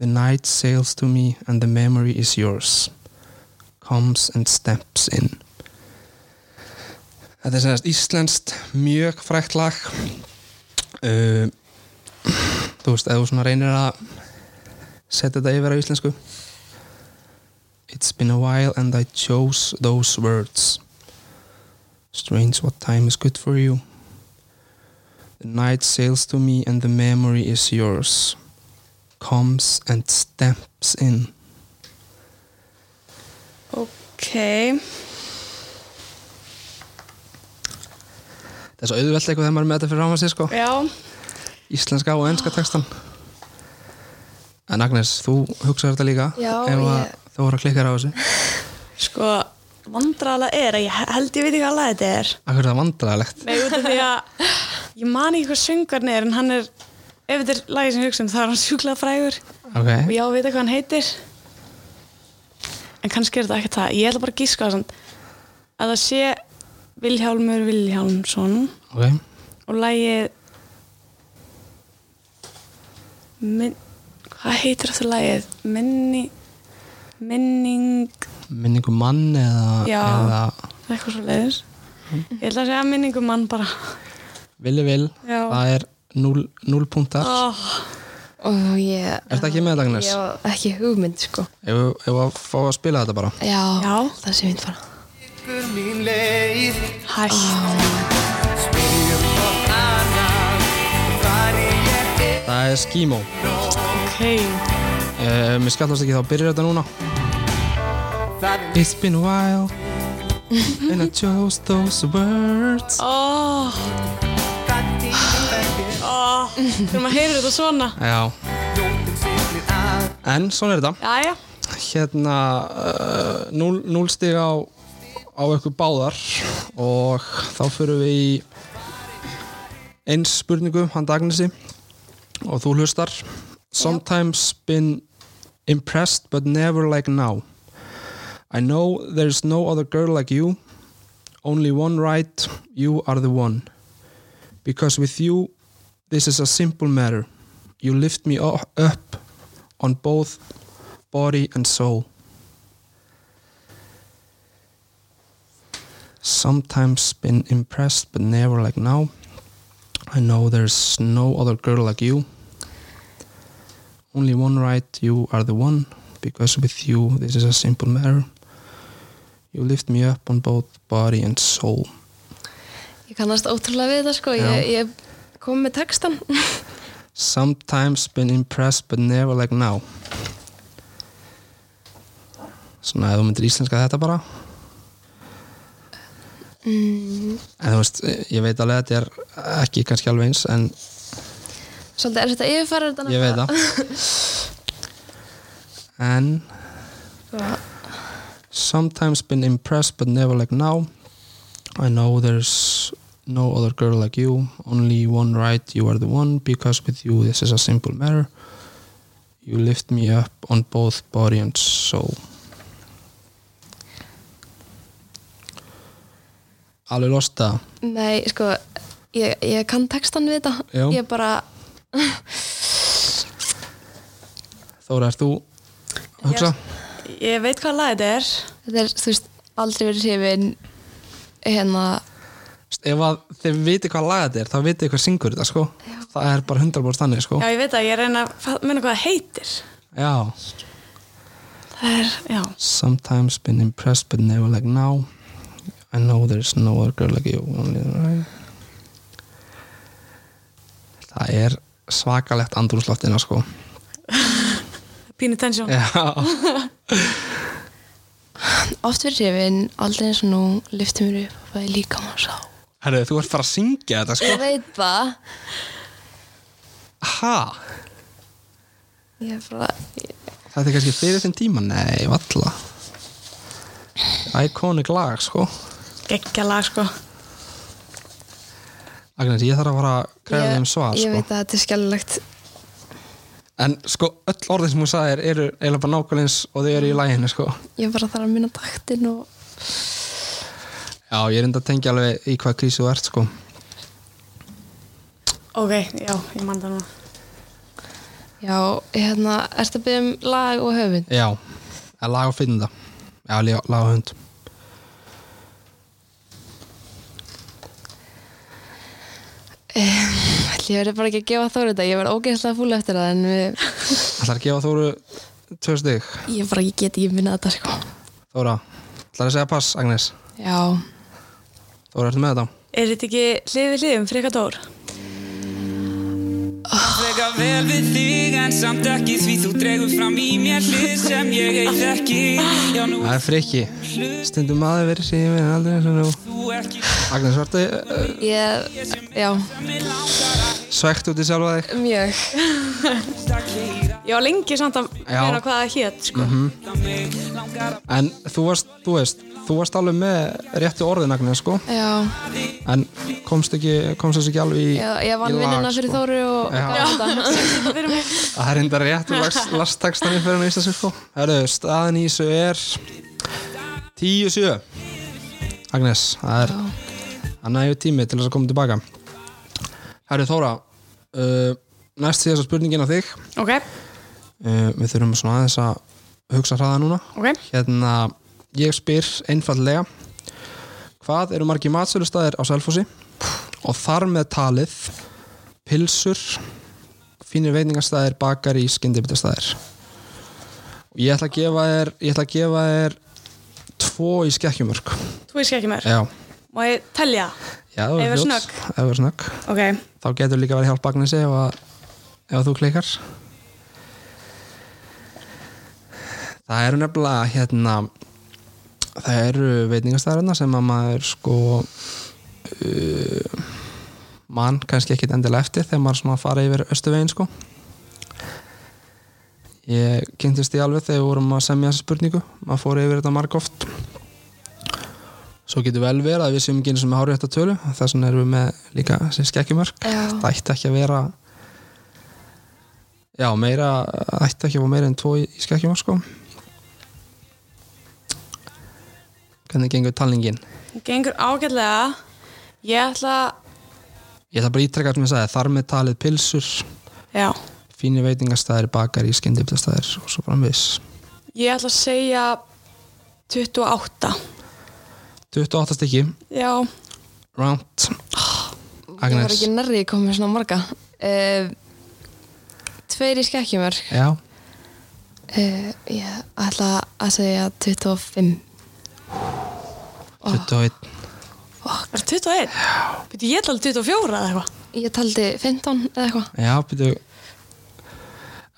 Speaker 1: The night sails to me and the memory is yours Comes and steps in Þetta er sérst íslenskt mjög frækt lag uh, Þú veist, ef þú svona reynir að setja þetta yfir á íslensku It's been a while and I chose those words Strange what time is good for you The night sails to me and the memory is yours Comes and steps in
Speaker 2: Ok,
Speaker 1: Það er svo auðvelt eitthvað þegar maður er með þetta fyrir ráma sér sko
Speaker 2: já,
Speaker 1: Íslenska og enska textan En Agnes, þú hugsaður þetta líka
Speaker 3: Já,
Speaker 1: Ef að
Speaker 3: ég-
Speaker 1: þú voru að klikka þér á þessu
Speaker 2: sko, vandrarlega er að ég he- held ég veit ekki hvað lag þetta er.
Speaker 1: Akkur er það vandræðalegt
Speaker 2: Nei, út af því að ég man ekki hvað söngarni er, en hann er, ef þetta er lagið sem ég hugsa um, þá er hann sjúklað frægur. og
Speaker 1: okay.
Speaker 2: já, veit hvað hann heitir en kannski er þetta ekkert það ég ætla bara að gíska það samt. að það sé Vilhjálmur Vilhjálmsson
Speaker 1: ok,
Speaker 2: og lagið minn, hvað heitir þetta lagið minni minning
Speaker 1: Minningu um mann eða,
Speaker 2: Já.
Speaker 1: eða
Speaker 2: eitthvað svo leiðis ég ætla að segja minningum mann bara
Speaker 1: Vili vil
Speaker 2: Já.
Speaker 1: Það er 0 punktar oh.
Speaker 2: oh,
Speaker 3: og ég
Speaker 1: Ertu ekki með þetta Agnes?
Speaker 3: ég var ekki hugmynd sko
Speaker 1: Ef ef að fá að spila þetta bara
Speaker 3: já,
Speaker 2: Já.
Speaker 3: það sé mynd fara
Speaker 5: Liggur mín leið
Speaker 2: hætt
Speaker 5: Spyr hvort annan Hvar ég er
Speaker 1: Það er Skimo
Speaker 2: ok,
Speaker 1: Uh, mér skallast ekki þá byrjar þetta núna
Speaker 5: Það er
Speaker 1: It's been a while And I chose those words
Speaker 2: oh,
Speaker 5: það tíma
Speaker 2: oh. þegar maður heyrir þetta svona
Speaker 1: Já,
Speaker 5: Ljótin sér mér að
Speaker 1: en svona er þetta
Speaker 2: já, já,
Speaker 1: Hérna, uh, núl, núl stig á á ykkur báðar og þá fyrir við í eins spurningu handa Agnesi og þú hlustar Sometimes been impressed but never like now I know there's no other girl like you Only one right, you are the one Because with you this is a simple matter You lift me u- up on both body and soul sometimes been impressed but never like now I know there's no other girl like you only one right you are the one because with you this is a simple matter you lift me up on both body and soul
Speaker 3: ég kannast ótrúlega við þetta sko ég, ég kom með textan
Speaker 1: sometimes been impressed but never like now svona ef þú myndir íslenska þetta bara en þú veist ég veit alveg að þetta er ekki kannski alveg eins en
Speaker 3: svolítið er þetta yfirfæra þetta
Speaker 1: ég veit það en
Speaker 3: það
Speaker 1: sometimes been impressed but never like now I know there's no other girl like you only one right you are the one because with you this is a simple matter you lift me up on both body and soul alveg losta
Speaker 3: Nei, sko, ég, ég kann textan við þetta.
Speaker 1: Já.
Speaker 3: Ég bara,
Speaker 1: Þóra, ert þú að hugsa?
Speaker 2: ég veit hvað lag þetta er
Speaker 3: þetta er, þú veist, aldrei verið hrifin hérna,
Speaker 1: ef að þið viti hvað laga þetta er þá vitið þið hvað syngur þetta sko það er bara 100% þannig sko
Speaker 2: Já, ég veit að ég reyna að fa- muna hvað það heitir.
Speaker 1: já.
Speaker 2: Það er, já.
Speaker 1: sometimes been impressed but never like now I know there's no other girl like you only right það er svakalegt andrúsloftina sko
Speaker 2: Pínu tensjón.
Speaker 1: já,
Speaker 3: oft verið hrifin, aldrei eins og nú, lyfti mér upp og fæði líka maður sá.
Speaker 1: herru þú ert fara að syngja þetta sko
Speaker 3: Ég veit það.
Speaker 1: ha,
Speaker 3: Ég er bara,
Speaker 1: þetta er kannski fyrir þinn tíma nei, valla iconic lag sko
Speaker 2: Gekkja lag, sko.
Speaker 1: Agnes, ég þarf að fara að krefa
Speaker 3: ég,
Speaker 1: þeim svar
Speaker 3: ég
Speaker 1: sko.
Speaker 3: veit að þetta er skjálflegt.
Speaker 1: en sko öll orðin sem hún sagði eru eiginlega bara nákvæmlega eins og þau eru í læginu sko
Speaker 3: Ég bara þarf að minna taktin og,
Speaker 1: já, ég er enda að tengja alveg í hvað krísu þú ert sko
Speaker 2: Ok, já, ég man það núna.
Speaker 3: Já, hérna, ertu að byggja um lag og höfund?
Speaker 1: Já, að lag og finna Já, lag lag og hund
Speaker 3: Ætli, Ég verði bara ekki að gefa Þóri þetta, ég verði ógeðslega fúl eftir það en við,
Speaker 1: Það er að gefa Þóru tvö stig
Speaker 3: ég bara ekki get ekki minna þetta sko.
Speaker 1: Þóra, það að segja pass, Agnes
Speaker 3: Já,
Speaker 1: Þóra, ertu með þetta?
Speaker 2: Er þetta ekki hlið við hliðum, freka dór?
Speaker 4: Þegar vel við þig en samt ekki því þú dregur fram í mér hlið sem ég eitthvað ekki Já nú
Speaker 1: Það er frikki Stundum maður verið síðan við aldrei eins og nú
Speaker 4: þú ekki
Speaker 1: Agnes, vartu uh,
Speaker 3: ég, já,
Speaker 4: Mér langar að
Speaker 1: svegt út í sjálfa þig?
Speaker 3: mjög.
Speaker 4: hlusta klíða
Speaker 2: Já, lengi samt að
Speaker 1: Já.
Speaker 2: vera hvað það hét, sko.
Speaker 4: mig Langar að
Speaker 1: En þú varst, þú veist Þú varst alveg með réttu orðin, Agnes, sko
Speaker 3: Já,
Speaker 1: En komst ekki, komst þessu ekki alveg í
Speaker 3: já ég vann
Speaker 1: í lag,
Speaker 3: vinnuna fyrir
Speaker 1: sko.
Speaker 3: Þóri og
Speaker 1: Já.
Speaker 3: gaf þetta.
Speaker 2: Þetta fyrir mig.
Speaker 1: Það er enda rétt úr lastakstanum fyrir mig íslensu sko Herru, staðan í þessu er 10-7 Agnes, það er hann nægur tími til þess að koma tilbaka Herru Þóra uh, næst síðast spurningin á þig
Speaker 2: Ok,
Speaker 1: uh, við þurfum svona aðeins að hugsa hraða núna
Speaker 2: ok.
Speaker 1: hérna, ég spyr einfallega hvað eru margi matsölustæðir á Selfossi og þar með talið pilsur fínir veitingastæðir, bakari, skyndibitastæðir og ég ætla að gefa þér ég ætla að gefa þér tvo í skekkjumörk
Speaker 2: Þú veist ekki mér.
Speaker 1: já,
Speaker 2: Má ég telja?
Speaker 1: já ef þú
Speaker 2: Ef
Speaker 1: ert
Speaker 2: er
Speaker 1: fljót.
Speaker 2: snögg.
Speaker 1: ef þú er snögg
Speaker 2: Ok.
Speaker 1: þá getur líka verið hjálp Agnesi ef, að, ef þú klikkar það eru nefnilega hérna það eru veitingastæðarna sem að maður sko uh, mann kannski ekkit endilega eftir þegar maður svona fara yfir östuvegin sko ég kynntist því alveg þegar við vorum að semja þessa spurningu maður fór yfir þetta margóft svo getur vel verið að við séum ekki eins og með hárið þetta tölu þess vegna erum við með líka sem skekkjumörk
Speaker 3: Já.
Speaker 1: það ætti ekki að vera já, meira það ætti ekki að vera meira en tvo í, í skekkjumörk sko hvernig gengur talningin
Speaker 2: Gengur ágætlega. Ég ætla...
Speaker 1: ég ætla bara að ítrekka sem ég sagði, þar með talið pilsur
Speaker 2: Já.
Speaker 1: fínir veitingastæðir, bakari, skyndibitastæðir og svo framvis
Speaker 2: Ég ætla að segja 28.
Speaker 1: 28 stykki,
Speaker 2: Já.
Speaker 1: round
Speaker 3: Ég var
Speaker 1: Agnes,
Speaker 3: ekki nærri að koma með svona marga. Uh, tveir í skekkjumörk.
Speaker 1: já
Speaker 3: Uh, ég ætla að segja 25.
Speaker 1: 21,
Speaker 2: Er 21? Já. Býttu, ég ætla alveg 24 eða eitthvað.
Speaker 3: Ég taldi 15 eða eitthvað.
Speaker 1: já, byrju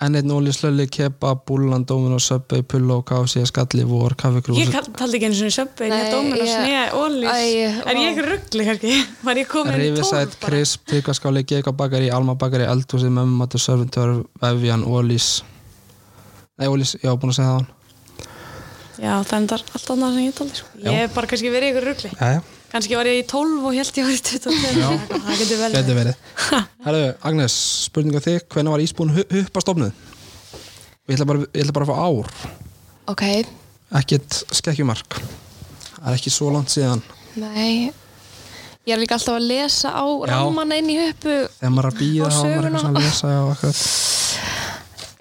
Speaker 1: enn einn ólíu slölli, kepa, búlan, dómin og söpbi, pulla og kási, skalli, vor, kaffikrú
Speaker 2: Ég kall- taldi ekki eins og söpbi, ég
Speaker 3: Nei,
Speaker 2: dómin og
Speaker 3: ég-
Speaker 2: snega,
Speaker 3: Æ,
Speaker 2: ólís. Er
Speaker 3: vá.
Speaker 2: ég ruggli kannski? Var ég komin í 12 bara?
Speaker 1: Rífisætt, krisp, tryggvaskáli, gekabakari, almabakari, eldhúsi, mömmumatur, serventör, vefjan, ólís Nei, ólís, já, búin að segja það hann
Speaker 2: Já, það er endar allt annað sem ég taldi. Sko.
Speaker 1: Já.
Speaker 2: Ég hef bara kannski verið í ykkur ruggli.
Speaker 1: Já, já,
Speaker 2: Kannski var ég í 12 og held ég var í 22. Það getur vel.
Speaker 1: gæti verið Herru, Agnes, spurninga þig, hvenær var Ísbúin huppa stofnuð? Ég ætla bara, ég ætla bara að fá ár
Speaker 3: Ok,
Speaker 1: ekkert skekkjumark það er ekki svo langt síðan
Speaker 3: nei. Ég er líka alltaf að lesa á rammanna inn í höpu.
Speaker 1: þegar maður er að býða
Speaker 3: Og
Speaker 1: þá er maður eitthvað
Speaker 3: söguna.
Speaker 1: svona að lesa og akkurat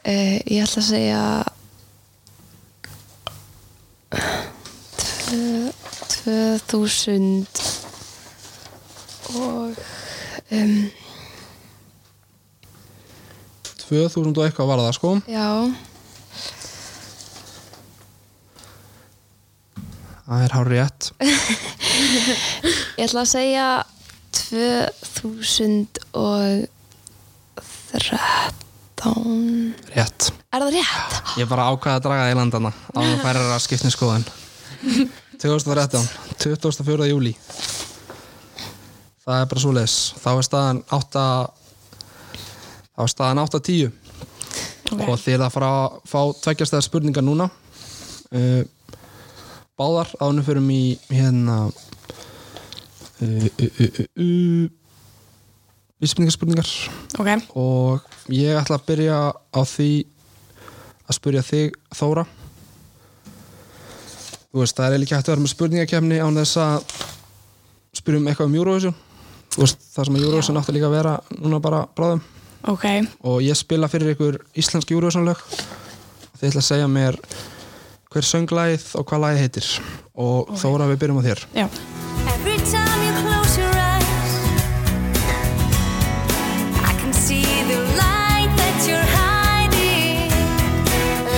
Speaker 3: Uh, ég ætla að segja... Tvö- 2000 og... Um,
Speaker 1: 2000 og eitthvað var það sko
Speaker 3: já,
Speaker 1: það er hár rétt
Speaker 3: ég ætla að segja 2013.
Speaker 1: rétt
Speaker 3: Er það rétt?
Speaker 1: ég bara ákvaði að draga það í landana á að færa að skiptni skoðan 2013, 24. júli það er bara svo leis þá er staðan 8 þá er staðan 8-10 og þið er að fara að fá tveggjastæðar spurningar núna uh, báðar ánum fyrir mig hérna uh, uh, uh, uh, uh, vísbendingarspurningar
Speaker 2: Ok,
Speaker 1: og ég ætla að byrja á því að spyrja þig Þóra þú veist það er eiginlega ekki hægt að vera með spurningakefni án þess að um spyrjum eitthvað um Eurovision þú veist það sem að Eurovision átti líka að vera núna bara bráðum
Speaker 2: ok,
Speaker 1: og ég spila fyrir ykkur íslensk júruvísanlög þið ætla að segja mér hver sönglæð og hvað læð heitir og Þóra við byrjum á þér
Speaker 2: já
Speaker 6: Every time you close your eyes, I can see the light that you're hiding,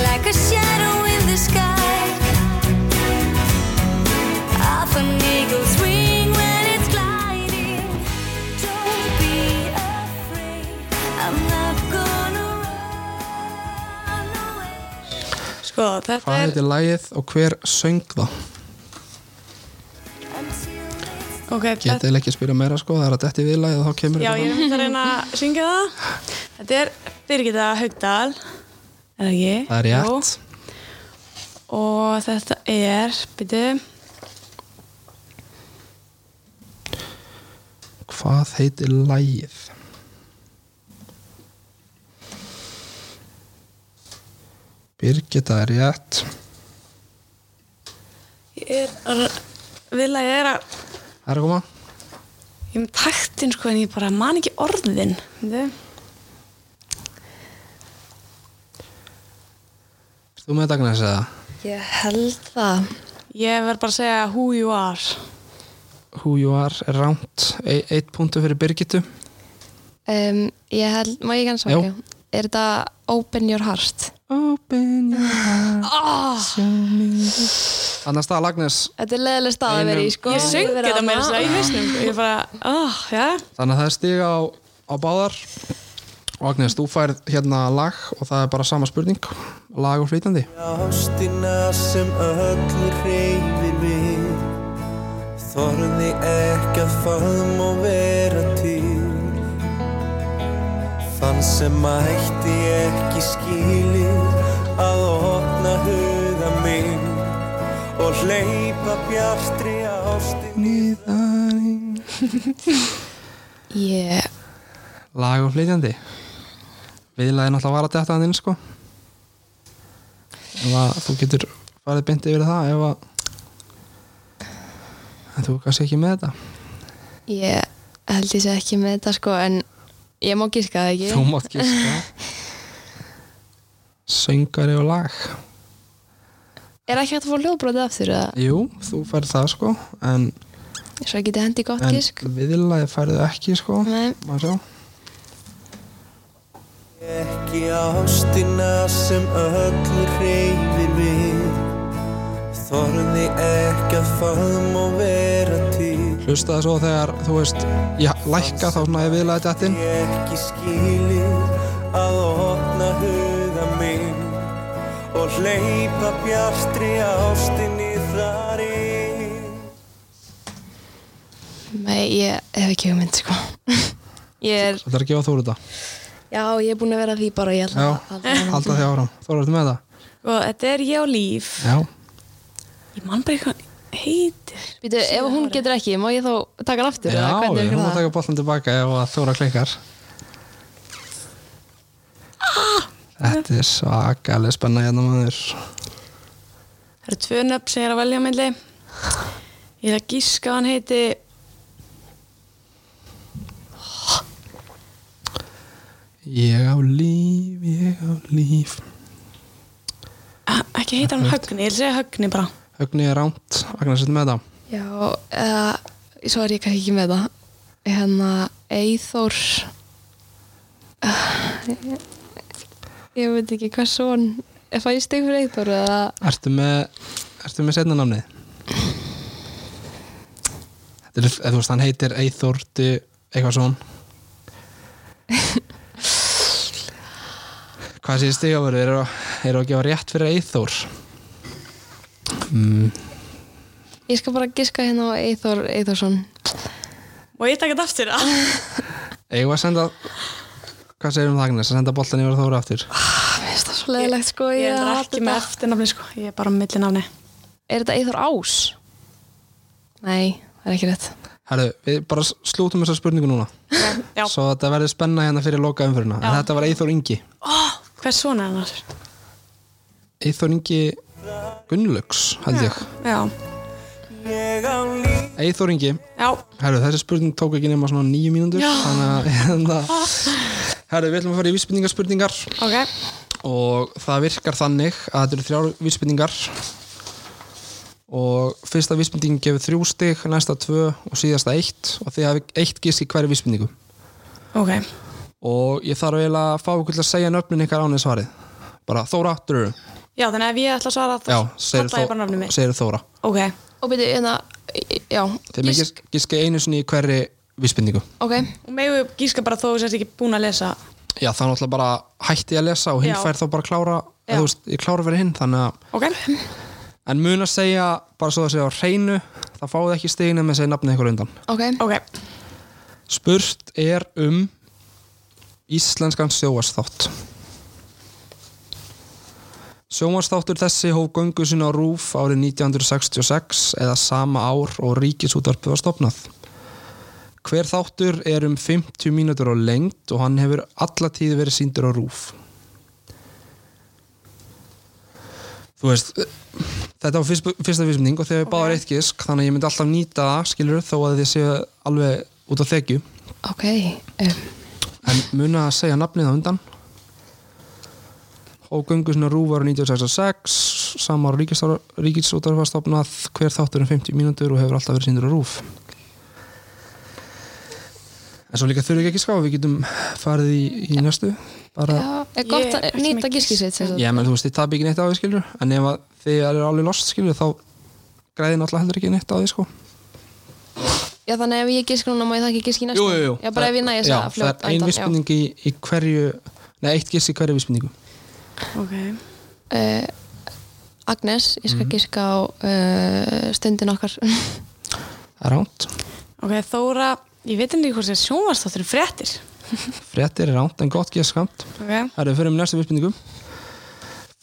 Speaker 6: like a shadow in the sky. Of an eagle's wing when it's gliding. Don't be afraid, I'm not gonna run away.
Speaker 2: sko, þetta
Speaker 1: hvað
Speaker 2: er,
Speaker 1: heitir lægið og hver söng það
Speaker 2: ok, þetta
Speaker 1: getið þið ekki að spyrja meira sko, það er að detti við lægið og þá kemur
Speaker 2: já,
Speaker 1: þetta.
Speaker 2: ég er myndið að reyna að syngja það þetta er Birgitta Haugdal er það ekki?
Speaker 1: það er rétt
Speaker 2: Jú. og þetta er, byrju
Speaker 1: hvað heitir lægið Birgitta er rétt
Speaker 2: ég er að, vil að ég er að
Speaker 1: það er að koma
Speaker 2: ég er með taktin sko en ég bara man ekki orðin byrju,
Speaker 1: Ert þú með dagnes eða
Speaker 3: Ég held það.
Speaker 2: ég verð bara að segja who you are
Speaker 1: Who You Are er rámt E- eitt punktu fyrir Birgittu
Speaker 3: Um, ég held, má ég kannski
Speaker 1: Jú.
Speaker 3: svaka? Er þetta Open Your Heart?
Speaker 1: Open your heart Show me Annars það Lagnes
Speaker 3: Þetta er leðileg stað að vera í, sko.
Speaker 2: ég söng
Speaker 3: Vera
Speaker 2: þetta
Speaker 3: þarna.
Speaker 2: með þess að segja í hausnum ég bara, oh, já,
Speaker 1: Þannig að það er stiga á, á báðar Og Agnes, þú færð hérna lag Og það er bara sama spurning Lag og flýtandi
Speaker 5: Ástina sem öllu reyfir við Þorði ekki að faðm og vera til Þann sem mætti ekki skilið Að opna huga minn Og hleypa bjartri ástin
Speaker 3: Ég,
Speaker 1: Lag og flýtandi Viðlaði náttúrulega var að detta hann inn sko Ef að þú getur farið beint yfir það Ef að En þú er kannski ekki með þetta
Speaker 3: ég held ég sé ekki með þetta, sko, en ég má gíska það ekki.
Speaker 1: Þú mátt gíska Söngari og lag
Speaker 3: Er ekki hægt að fá hljóðbrótið aftur eða?
Speaker 1: Jú, þú færð það sko En,
Speaker 3: Svo ég geti hendi í gott
Speaker 1: en
Speaker 3: gísk?
Speaker 1: viðlaði færðu ekki sko
Speaker 3: Nei.
Speaker 1: Má sjá.
Speaker 5: Ekki ástina sem öllu reyfir við Þorði ekki að faðm og vera til
Speaker 1: Hlustaði svo þegar, þú veist Ég lækka þá svona ég viðlaði dættin
Speaker 5: ekki skilið að opna huga minn og hleypa bjartri ástinni þar inn
Speaker 3: Nei, ég hef ekki hugmynd, sko. ég er,
Speaker 1: Þetta er að gefa þú þetta
Speaker 3: já, ég er búin að vera að því bara, ég
Speaker 1: Já,
Speaker 3: held að
Speaker 1: halda því áram Þú ertu með það
Speaker 2: sko, þetta er ég og líf
Speaker 1: Já,
Speaker 2: ég man bara eitthvað heitir
Speaker 3: Býtu, ef hún getur ekki, má ég þá taka hann aftur?
Speaker 1: já
Speaker 3: eða hvernig
Speaker 1: við
Speaker 3: er
Speaker 1: erum að
Speaker 3: það?
Speaker 1: taka bollan tilbaka ef að Þóra klikkar
Speaker 3: Ah!
Speaker 1: Þetta er svakalega spenna hérna maður
Speaker 2: það eru tvö nöfn sem ég er að velja á milli ég er að gíska að hann heiti
Speaker 1: Ég á líf, ég á líf
Speaker 2: Ah, ekki heitir hann Högni, ég vil segja Högni bara
Speaker 1: Högni er rámt, Agnes er með það
Speaker 3: Já, eða, svo er ég kannski ekki með það. Hérna, Eithór, ég, ég veit ekki hvað svon, ef að ég stig fyrir Eithór eða,
Speaker 1: Ertu með, ertu með setna námnið? Þetta er, eða þú veist, hann heitir Eithorti, eitthvað svon Hvað sé stigafur, eru eru að gefa rétt fyrir Eithor? Mm,
Speaker 3: ég skal bara giska hérna á Eithór Eithórsson.
Speaker 2: og ég taka þetta aftur ah,
Speaker 1: eigum við að senda, hvað segir um það Agnes, að senda boltan yfir á Þóra aftur?
Speaker 3: Mér finnst það svo leiðilegt, sko,
Speaker 2: ég
Speaker 3: ég
Speaker 2: er
Speaker 3: hata
Speaker 2: ekki
Speaker 3: þetta.
Speaker 2: með eftirnafni sko, ég er bara með millinafni
Speaker 3: Er þetta Eithor Ás? Nei, það er ekki rétt.
Speaker 1: Herru, við bara slútum þessar spurningu núna
Speaker 2: já,
Speaker 1: Svo þetta verður spenna hérna fyrir loka umfyrirna En þetta var Eithor Ingi
Speaker 2: hvers svona er hann
Speaker 1: Eithor Ingi Gunnlaugs, held ég
Speaker 2: já,
Speaker 5: ég á líf
Speaker 1: Eithor Ingi,
Speaker 2: já,
Speaker 1: herru, þessi spurning tók ekki nema svona nýju mínútur Þannig að hérna, Herru, við ætlum að fara í vísbendingarspurningar
Speaker 3: Ok,
Speaker 1: og það virkar þannig að þetta eru þrjár vísbendingar og fyrsta vísbending gefur þrjú stig, næsta tvö og síðasta eitt og þið hafi eitt gísk í hverju vísbendingu
Speaker 3: ok,
Speaker 1: og ég þarf eiginlega að fá ykkur til að segja nöfnin ykkar án eða svarið bara Þóra, Dröru
Speaker 2: Já, þannig að ef ég ætla að svara þá
Speaker 1: Já, segir,
Speaker 2: kalla ég bara nafnum mitt.
Speaker 1: segir Þóra
Speaker 2: Ok,
Speaker 3: og byrju, hérna, já,
Speaker 1: Þeim er
Speaker 3: gísk-
Speaker 1: gísk, gíski einu sinni í hverri vísbendingu
Speaker 3: ok,
Speaker 2: og megum við gíska bara þó þú sérst ekki búin að lesa.
Speaker 1: Já, það er náttúrulega bara hætti ég að lesa og hinn
Speaker 2: Já.
Speaker 1: fær þá bara að klára
Speaker 2: Já.
Speaker 1: eða, þú veist, ég klára fyrir hinn, þannig að
Speaker 2: Ok,
Speaker 1: En mun að segja, bara svo það segja á hreinu, það fáið ekki stiginu með að segja nafnið ykkur undan.
Speaker 3: ok,
Speaker 2: ok,
Speaker 1: Spurt er um íslenskan sjóasþátt. Sjóasþáttur þessi hóf göngu sinna á Rúf árið 1966 eða sama ár og ríkisútarpið var stopnað. Hver þáttur er um 50 mínútur á lengt og hann hefur alla tíð verið síndur á Rúf. Þú veist, Þetta var fyrst, fyrsta vísmynding og þegar við okay. báðar eitt gisk þannig að ég myndi alltaf nýta það, skilur þó að þið séu alveg út á þekju
Speaker 3: ok, um,
Speaker 1: en muna að segja nafnið á undan og göngu sinna rúvar 1966 samar ríkisútarfastofnað hver þáttur um 50 mínútur og hefur alltaf verið síndur á rúf en svo líka þurfi ekki að ská við getum farið í, í næstu bara
Speaker 3: já, er gott
Speaker 2: Ég-
Speaker 3: að
Speaker 2: ekki
Speaker 3: nýta
Speaker 2: mikið.
Speaker 3: gískið sitt, sem sagt.
Speaker 1: Já, menn þú veist, þið tap ekki neitt á því skilur en ef að þið eru alveg lost skilur þá græði náttúrulega heldur ekki neitt á því sko
Speaker 3: já, þannig ef ég gísk núna, má ég það ekki gísk í næsta,
Speaker 1: Jú, jú, jú
Speaker 3: já, bara ef ég næja þess
Speaker 1: Já,
Speaker 3: að fljótt,
Speaker 1: Það er ein
Speaker 3: á undan,
Speaker 1: vissbending í, í hverju Nei, eitt giss í hverju vissbendingu
Speaker 2: ok.
Speaker 3: já, uh, Agnes,
Speaker 1: Mhm.
Speaker 3: ég skal gíska á uh, stundin okkar,
Speaker 1: Það er ránt
Speaker 2: Ok, Þóra, ég veit ekki hvort það er sjónvarsþáttur fréttir.
Speaker 1: Fréttir er ránt en gott giss skamt
Speaker 2: Ok,
Speaker 1: Það eru fyrir um næstu vissbendingu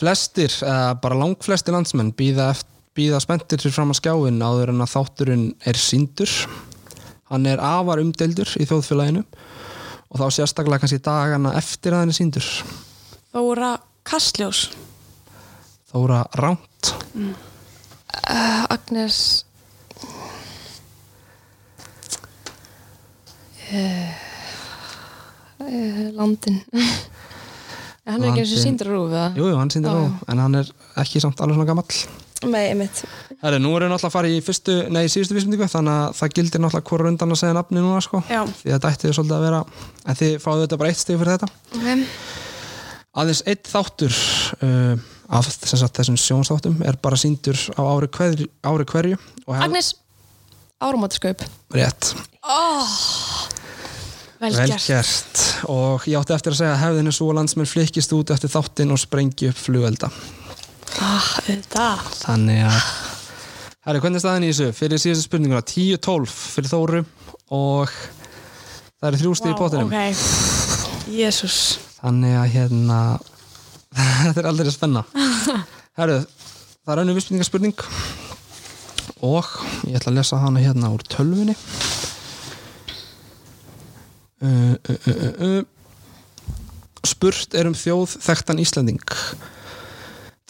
Speaker 1: Flestir, eða bara langflestir landsmenn býða, eft- býða spenntir fyrir fram að skjáin áður en að þátturinn er síndur Hann er afar umdeldur í þjóðfélaginu og þá sérstaklega kannski dagana eftir að hann er síndur
Speaker 2: Þóra Kastljós.
Speaker 1: Þóra ránt
Speaker 3: Mm.
Speaker 1: Eh,
Speaker 3: uh, Agnes, uh, uh, Eh, landin, hann er ekki eins og
Speaker 1: Landinn.
Speaker 3: síndur rúfið, það?
Speaker 1: Jú, jú, hann síndur á,
Speaker 3: Já, já.
Speaker 1: en hann er ekki samt alveg svona gamall
Speaker 3: Nei, einmitt.
Speaker 1: Herri, nú erum við náttúrulega að fara í fyrstu, nei, síðustu vísmyndingu þannig að það gildir náttúrulega hvora rundan að segja nafni núna sko.
Speaker 2: Já.
Speaker 1: því þetta ætti svolítið að vera en þið fáðu þetta bara eitt stig fyrir þetta
Speaker 3: Okay.
Speaker 1: aðeins eitt þáttur uh, af sem sagt, þessum sjónsþáttum er bara síndur á ári hverju, ári hverju og hef-
Speaker 3: Agnes, áramótaskaup.
Speaker 1: rétt,
Speaker 2: Vel
Speaker 1: vel
Speaker 2: gert.
Speaker 1: gert og ég átti eftir að segja að hefðinu svo landsmenn flykkist út eftir þáttin og sprengi upp flugelda
Speaker 2: Ah, auðvitað.
Speaker 1: Þannig að Herri, hvernig er staðan í þessu? Fyrir síðustu spurninguna 10-12 fyrir Þóru og það eru þrjú stig í pottinum
Speaker 2: ok. Jésús.
Speaker 1: Þannig að hérna þetta er aldrei að spenna Herri, það er önnur vissbyrningarspurning og ég ætla að lesa hana hérna úr tölvunni uh, uh, uh, uh, uh. Spurt er um þjóð þekktan Íslanding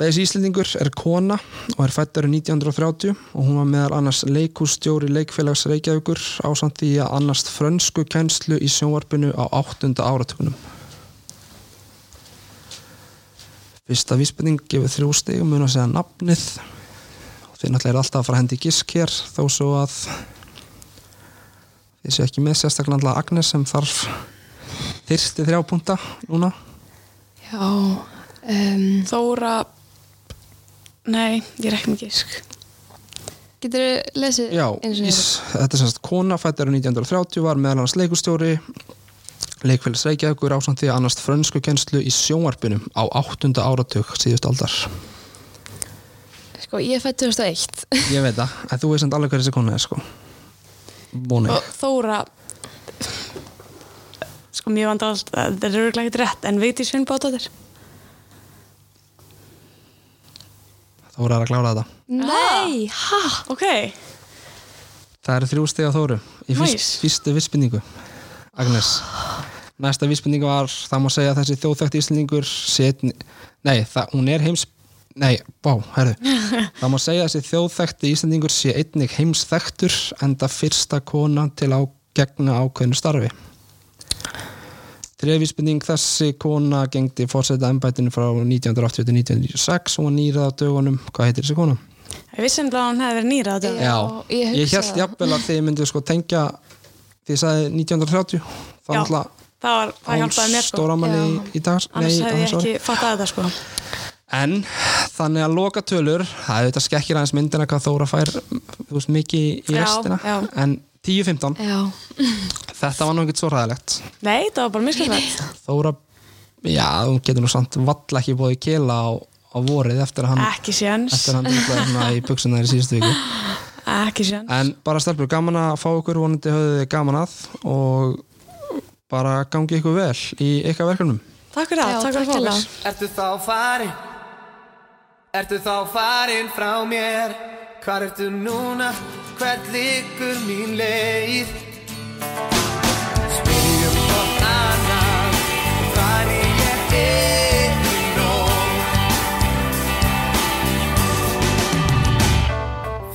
Speaker 1: Þessi Íslendingur er kona og er fættur í 1930 og hún var meðal annars leikústjóri leikfélags Reykjavíkur ásamt því að annast frönsku kennslu í sjónvarpinu á 8. áratugunum. Fyrsta vísbending gefur þrjú stig og mun að segja nafnið. Þið náttúrulega er alltaf að fara að hendi gísk hér þó svo að þið séu ekki með sérstaklega náttúrulega Agnes sem þarf þyrsti þrjá punta núna.
Speaker 3: Já, um,
Speaker 2: Þóra, nei, ég er ekki með gísk.
Speaker 3: getur þú lesið
Speaker 1: Já,
Speaker 3: einu sinni?
Speaker 1: ís, þetta er semst kona fættur 1930, var meðal hans leikustjóri leikfélags Reykjavíkur ásamt því að annast frönsku kennslu í sjónvarpinu á 8. áratug síðust aldar
Speaker 3: Sko, ég er fætt 2001.
Speaker 1: Ég veit það, en þú veist samt alveg hver þessi kona er sko Bóni
Speaker 2: Og Þóra, sko mér vandrar allt, það er örgulega ekkert rétt, en veit ég svinnbáta þér?
Speaker 1: Þóra er að klára þetta
Speaker 3: Nei, hæ?
Speaker 2: Ok,
Speaker 1: Það eru þrjú steg á Þóru í fyrst,
Speaker 2: Nice.
Speaker 1: fyrstu vissbynningu Agnes Næsta vissbynning var, það má segja að þessi þjóðþekkt Íslendingur setn, Nei, það, hún er heims Nei, bá, herðu Það má segja að þessi þjóðþekkt Íslendingur sé einnig heimsþekktur enda fyrsta kona til að gegna ákveðnu starfi Trefísbending þessi kona gengdi fórseta embættinu frá 1980 til 1996 hún var nýrað á dögunum, hvað heitir þessi kona?
Speaker 2: Ég vissi ennlega að hún hefði verið nýra á þetta.
Speaker 3: Já, ég
Speaker 1: ég,
Speaker 3: hugsa
Speaker 1: held
Speaker 3: það.
Speaker 1: jafnvel að þið myndu sko tengja þið sagði 1930 þá
Speaker 2: Já,
Speaker 1: náttúrulega
Speaker 2: það, var,
Speaker 1: á
Speaker 2: það hjálpaði mér sko.
Speaker 1: stóra manni í, í dag
Speaker 2: Annars
Speaker 1: nei, á
Speaker 2: hefði ég
Speaker 1: þessu ári.
Speaker 2: ekki fattað þetta sko.
Speaker 1: en þannig að loka tölur það er þetta skekkir aðeins myndina hvað Þóra fær þú veist mikið í
Speaker 2: Já,
Speaker 1: restina
Speaker 2: já.
Speaker 1: en 10-15,
Speaker 3: Já,
Speaker 1: þetta var nú ekkert svo ræðilegt
Speaker 2: Nei, það var bara miskilvægt.
Speaker 1: Þóra, já, hún getur nú samt valla ekki bóðið kela á, á vorið eftir að hann
Speaker 2: Ekki séns.
Speaker 1: eftir að hann dinglaði svona í buksuna í síðustu viku
Speaker 2: Ekki séns.
Speaker 1: En bara stelpur, gaman að fá ykkur vonandi höfðu þið gaman að og bara gangi ykkur vel í ykkar verkefnum.
Speaker 2: Takk fyrir það,
Speaker 3: já,
Speaker 2: takk fyrir fólk.
Speaker 3: fyrir.
Speaker 5: Ertu þá farin? Ertu þá farin frá mér? Hvar ertu núna? Hvert liggur mín leið? Spyrjum hvort annan Hvar ég er í nóg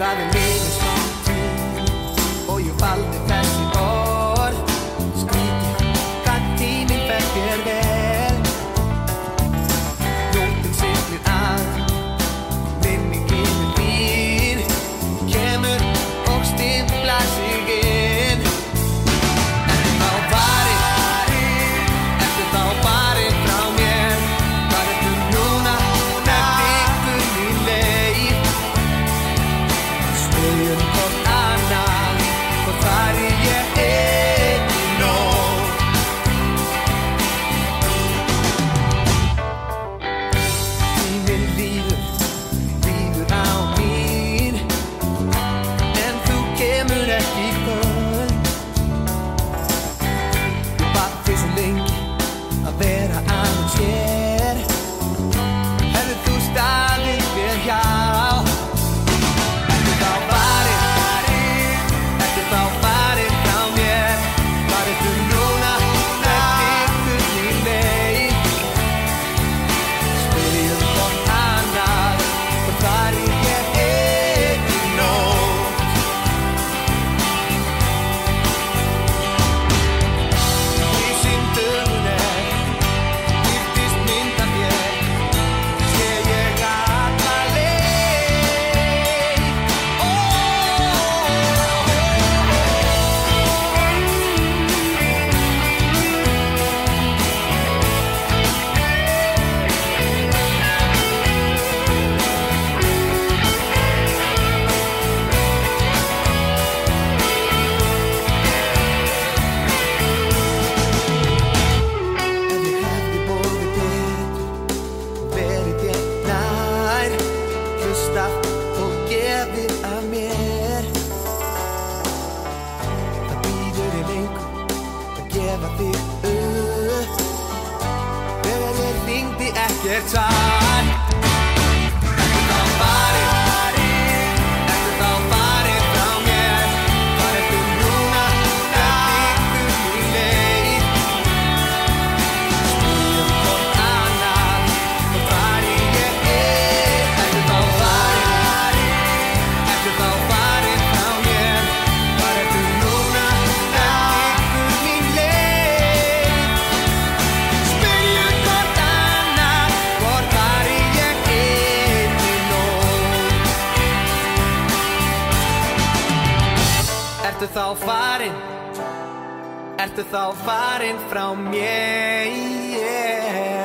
Speaker 5: Það er liðið smá tíð Og ég valdi þessi orð Skrítið Hvað tíminn fer þér vel Nóttin siglir að Minningin er þín Kemur og stimplar sig inn Ertu þá barinn Ertu þá barinn frá mér Hvað ertu núna Nefn ykkur mín leið Spyrjum hvort annan Hvort þar ég einn í nóg Tíminn líður, líður á mín En þú kemur ekki í kvöld Ég bað því svo lengi að vera aðeins hér Hefðu þú staðið mér hjá Ertu þá farinn, ertu þá farinn frá mér Farið þú núna, þetta ykkur í leið Spyrjum hvort annað Og þar ég einn í nóg Í síndunum er Giftist myndan ég Sé ég alla leið Ó, ó, ó En ég hefði bóðið betur Verið ég nær Hlustað og gefið af mér Það býður ég lengur Að gefa þig upp Þegar ég ringdi ekkert svar Ertu þá farinn? Ertu þá farinn frá mér? Hvar ertu núna? Ertu í leið? Ertu þá farin, ertu þá farin frá mér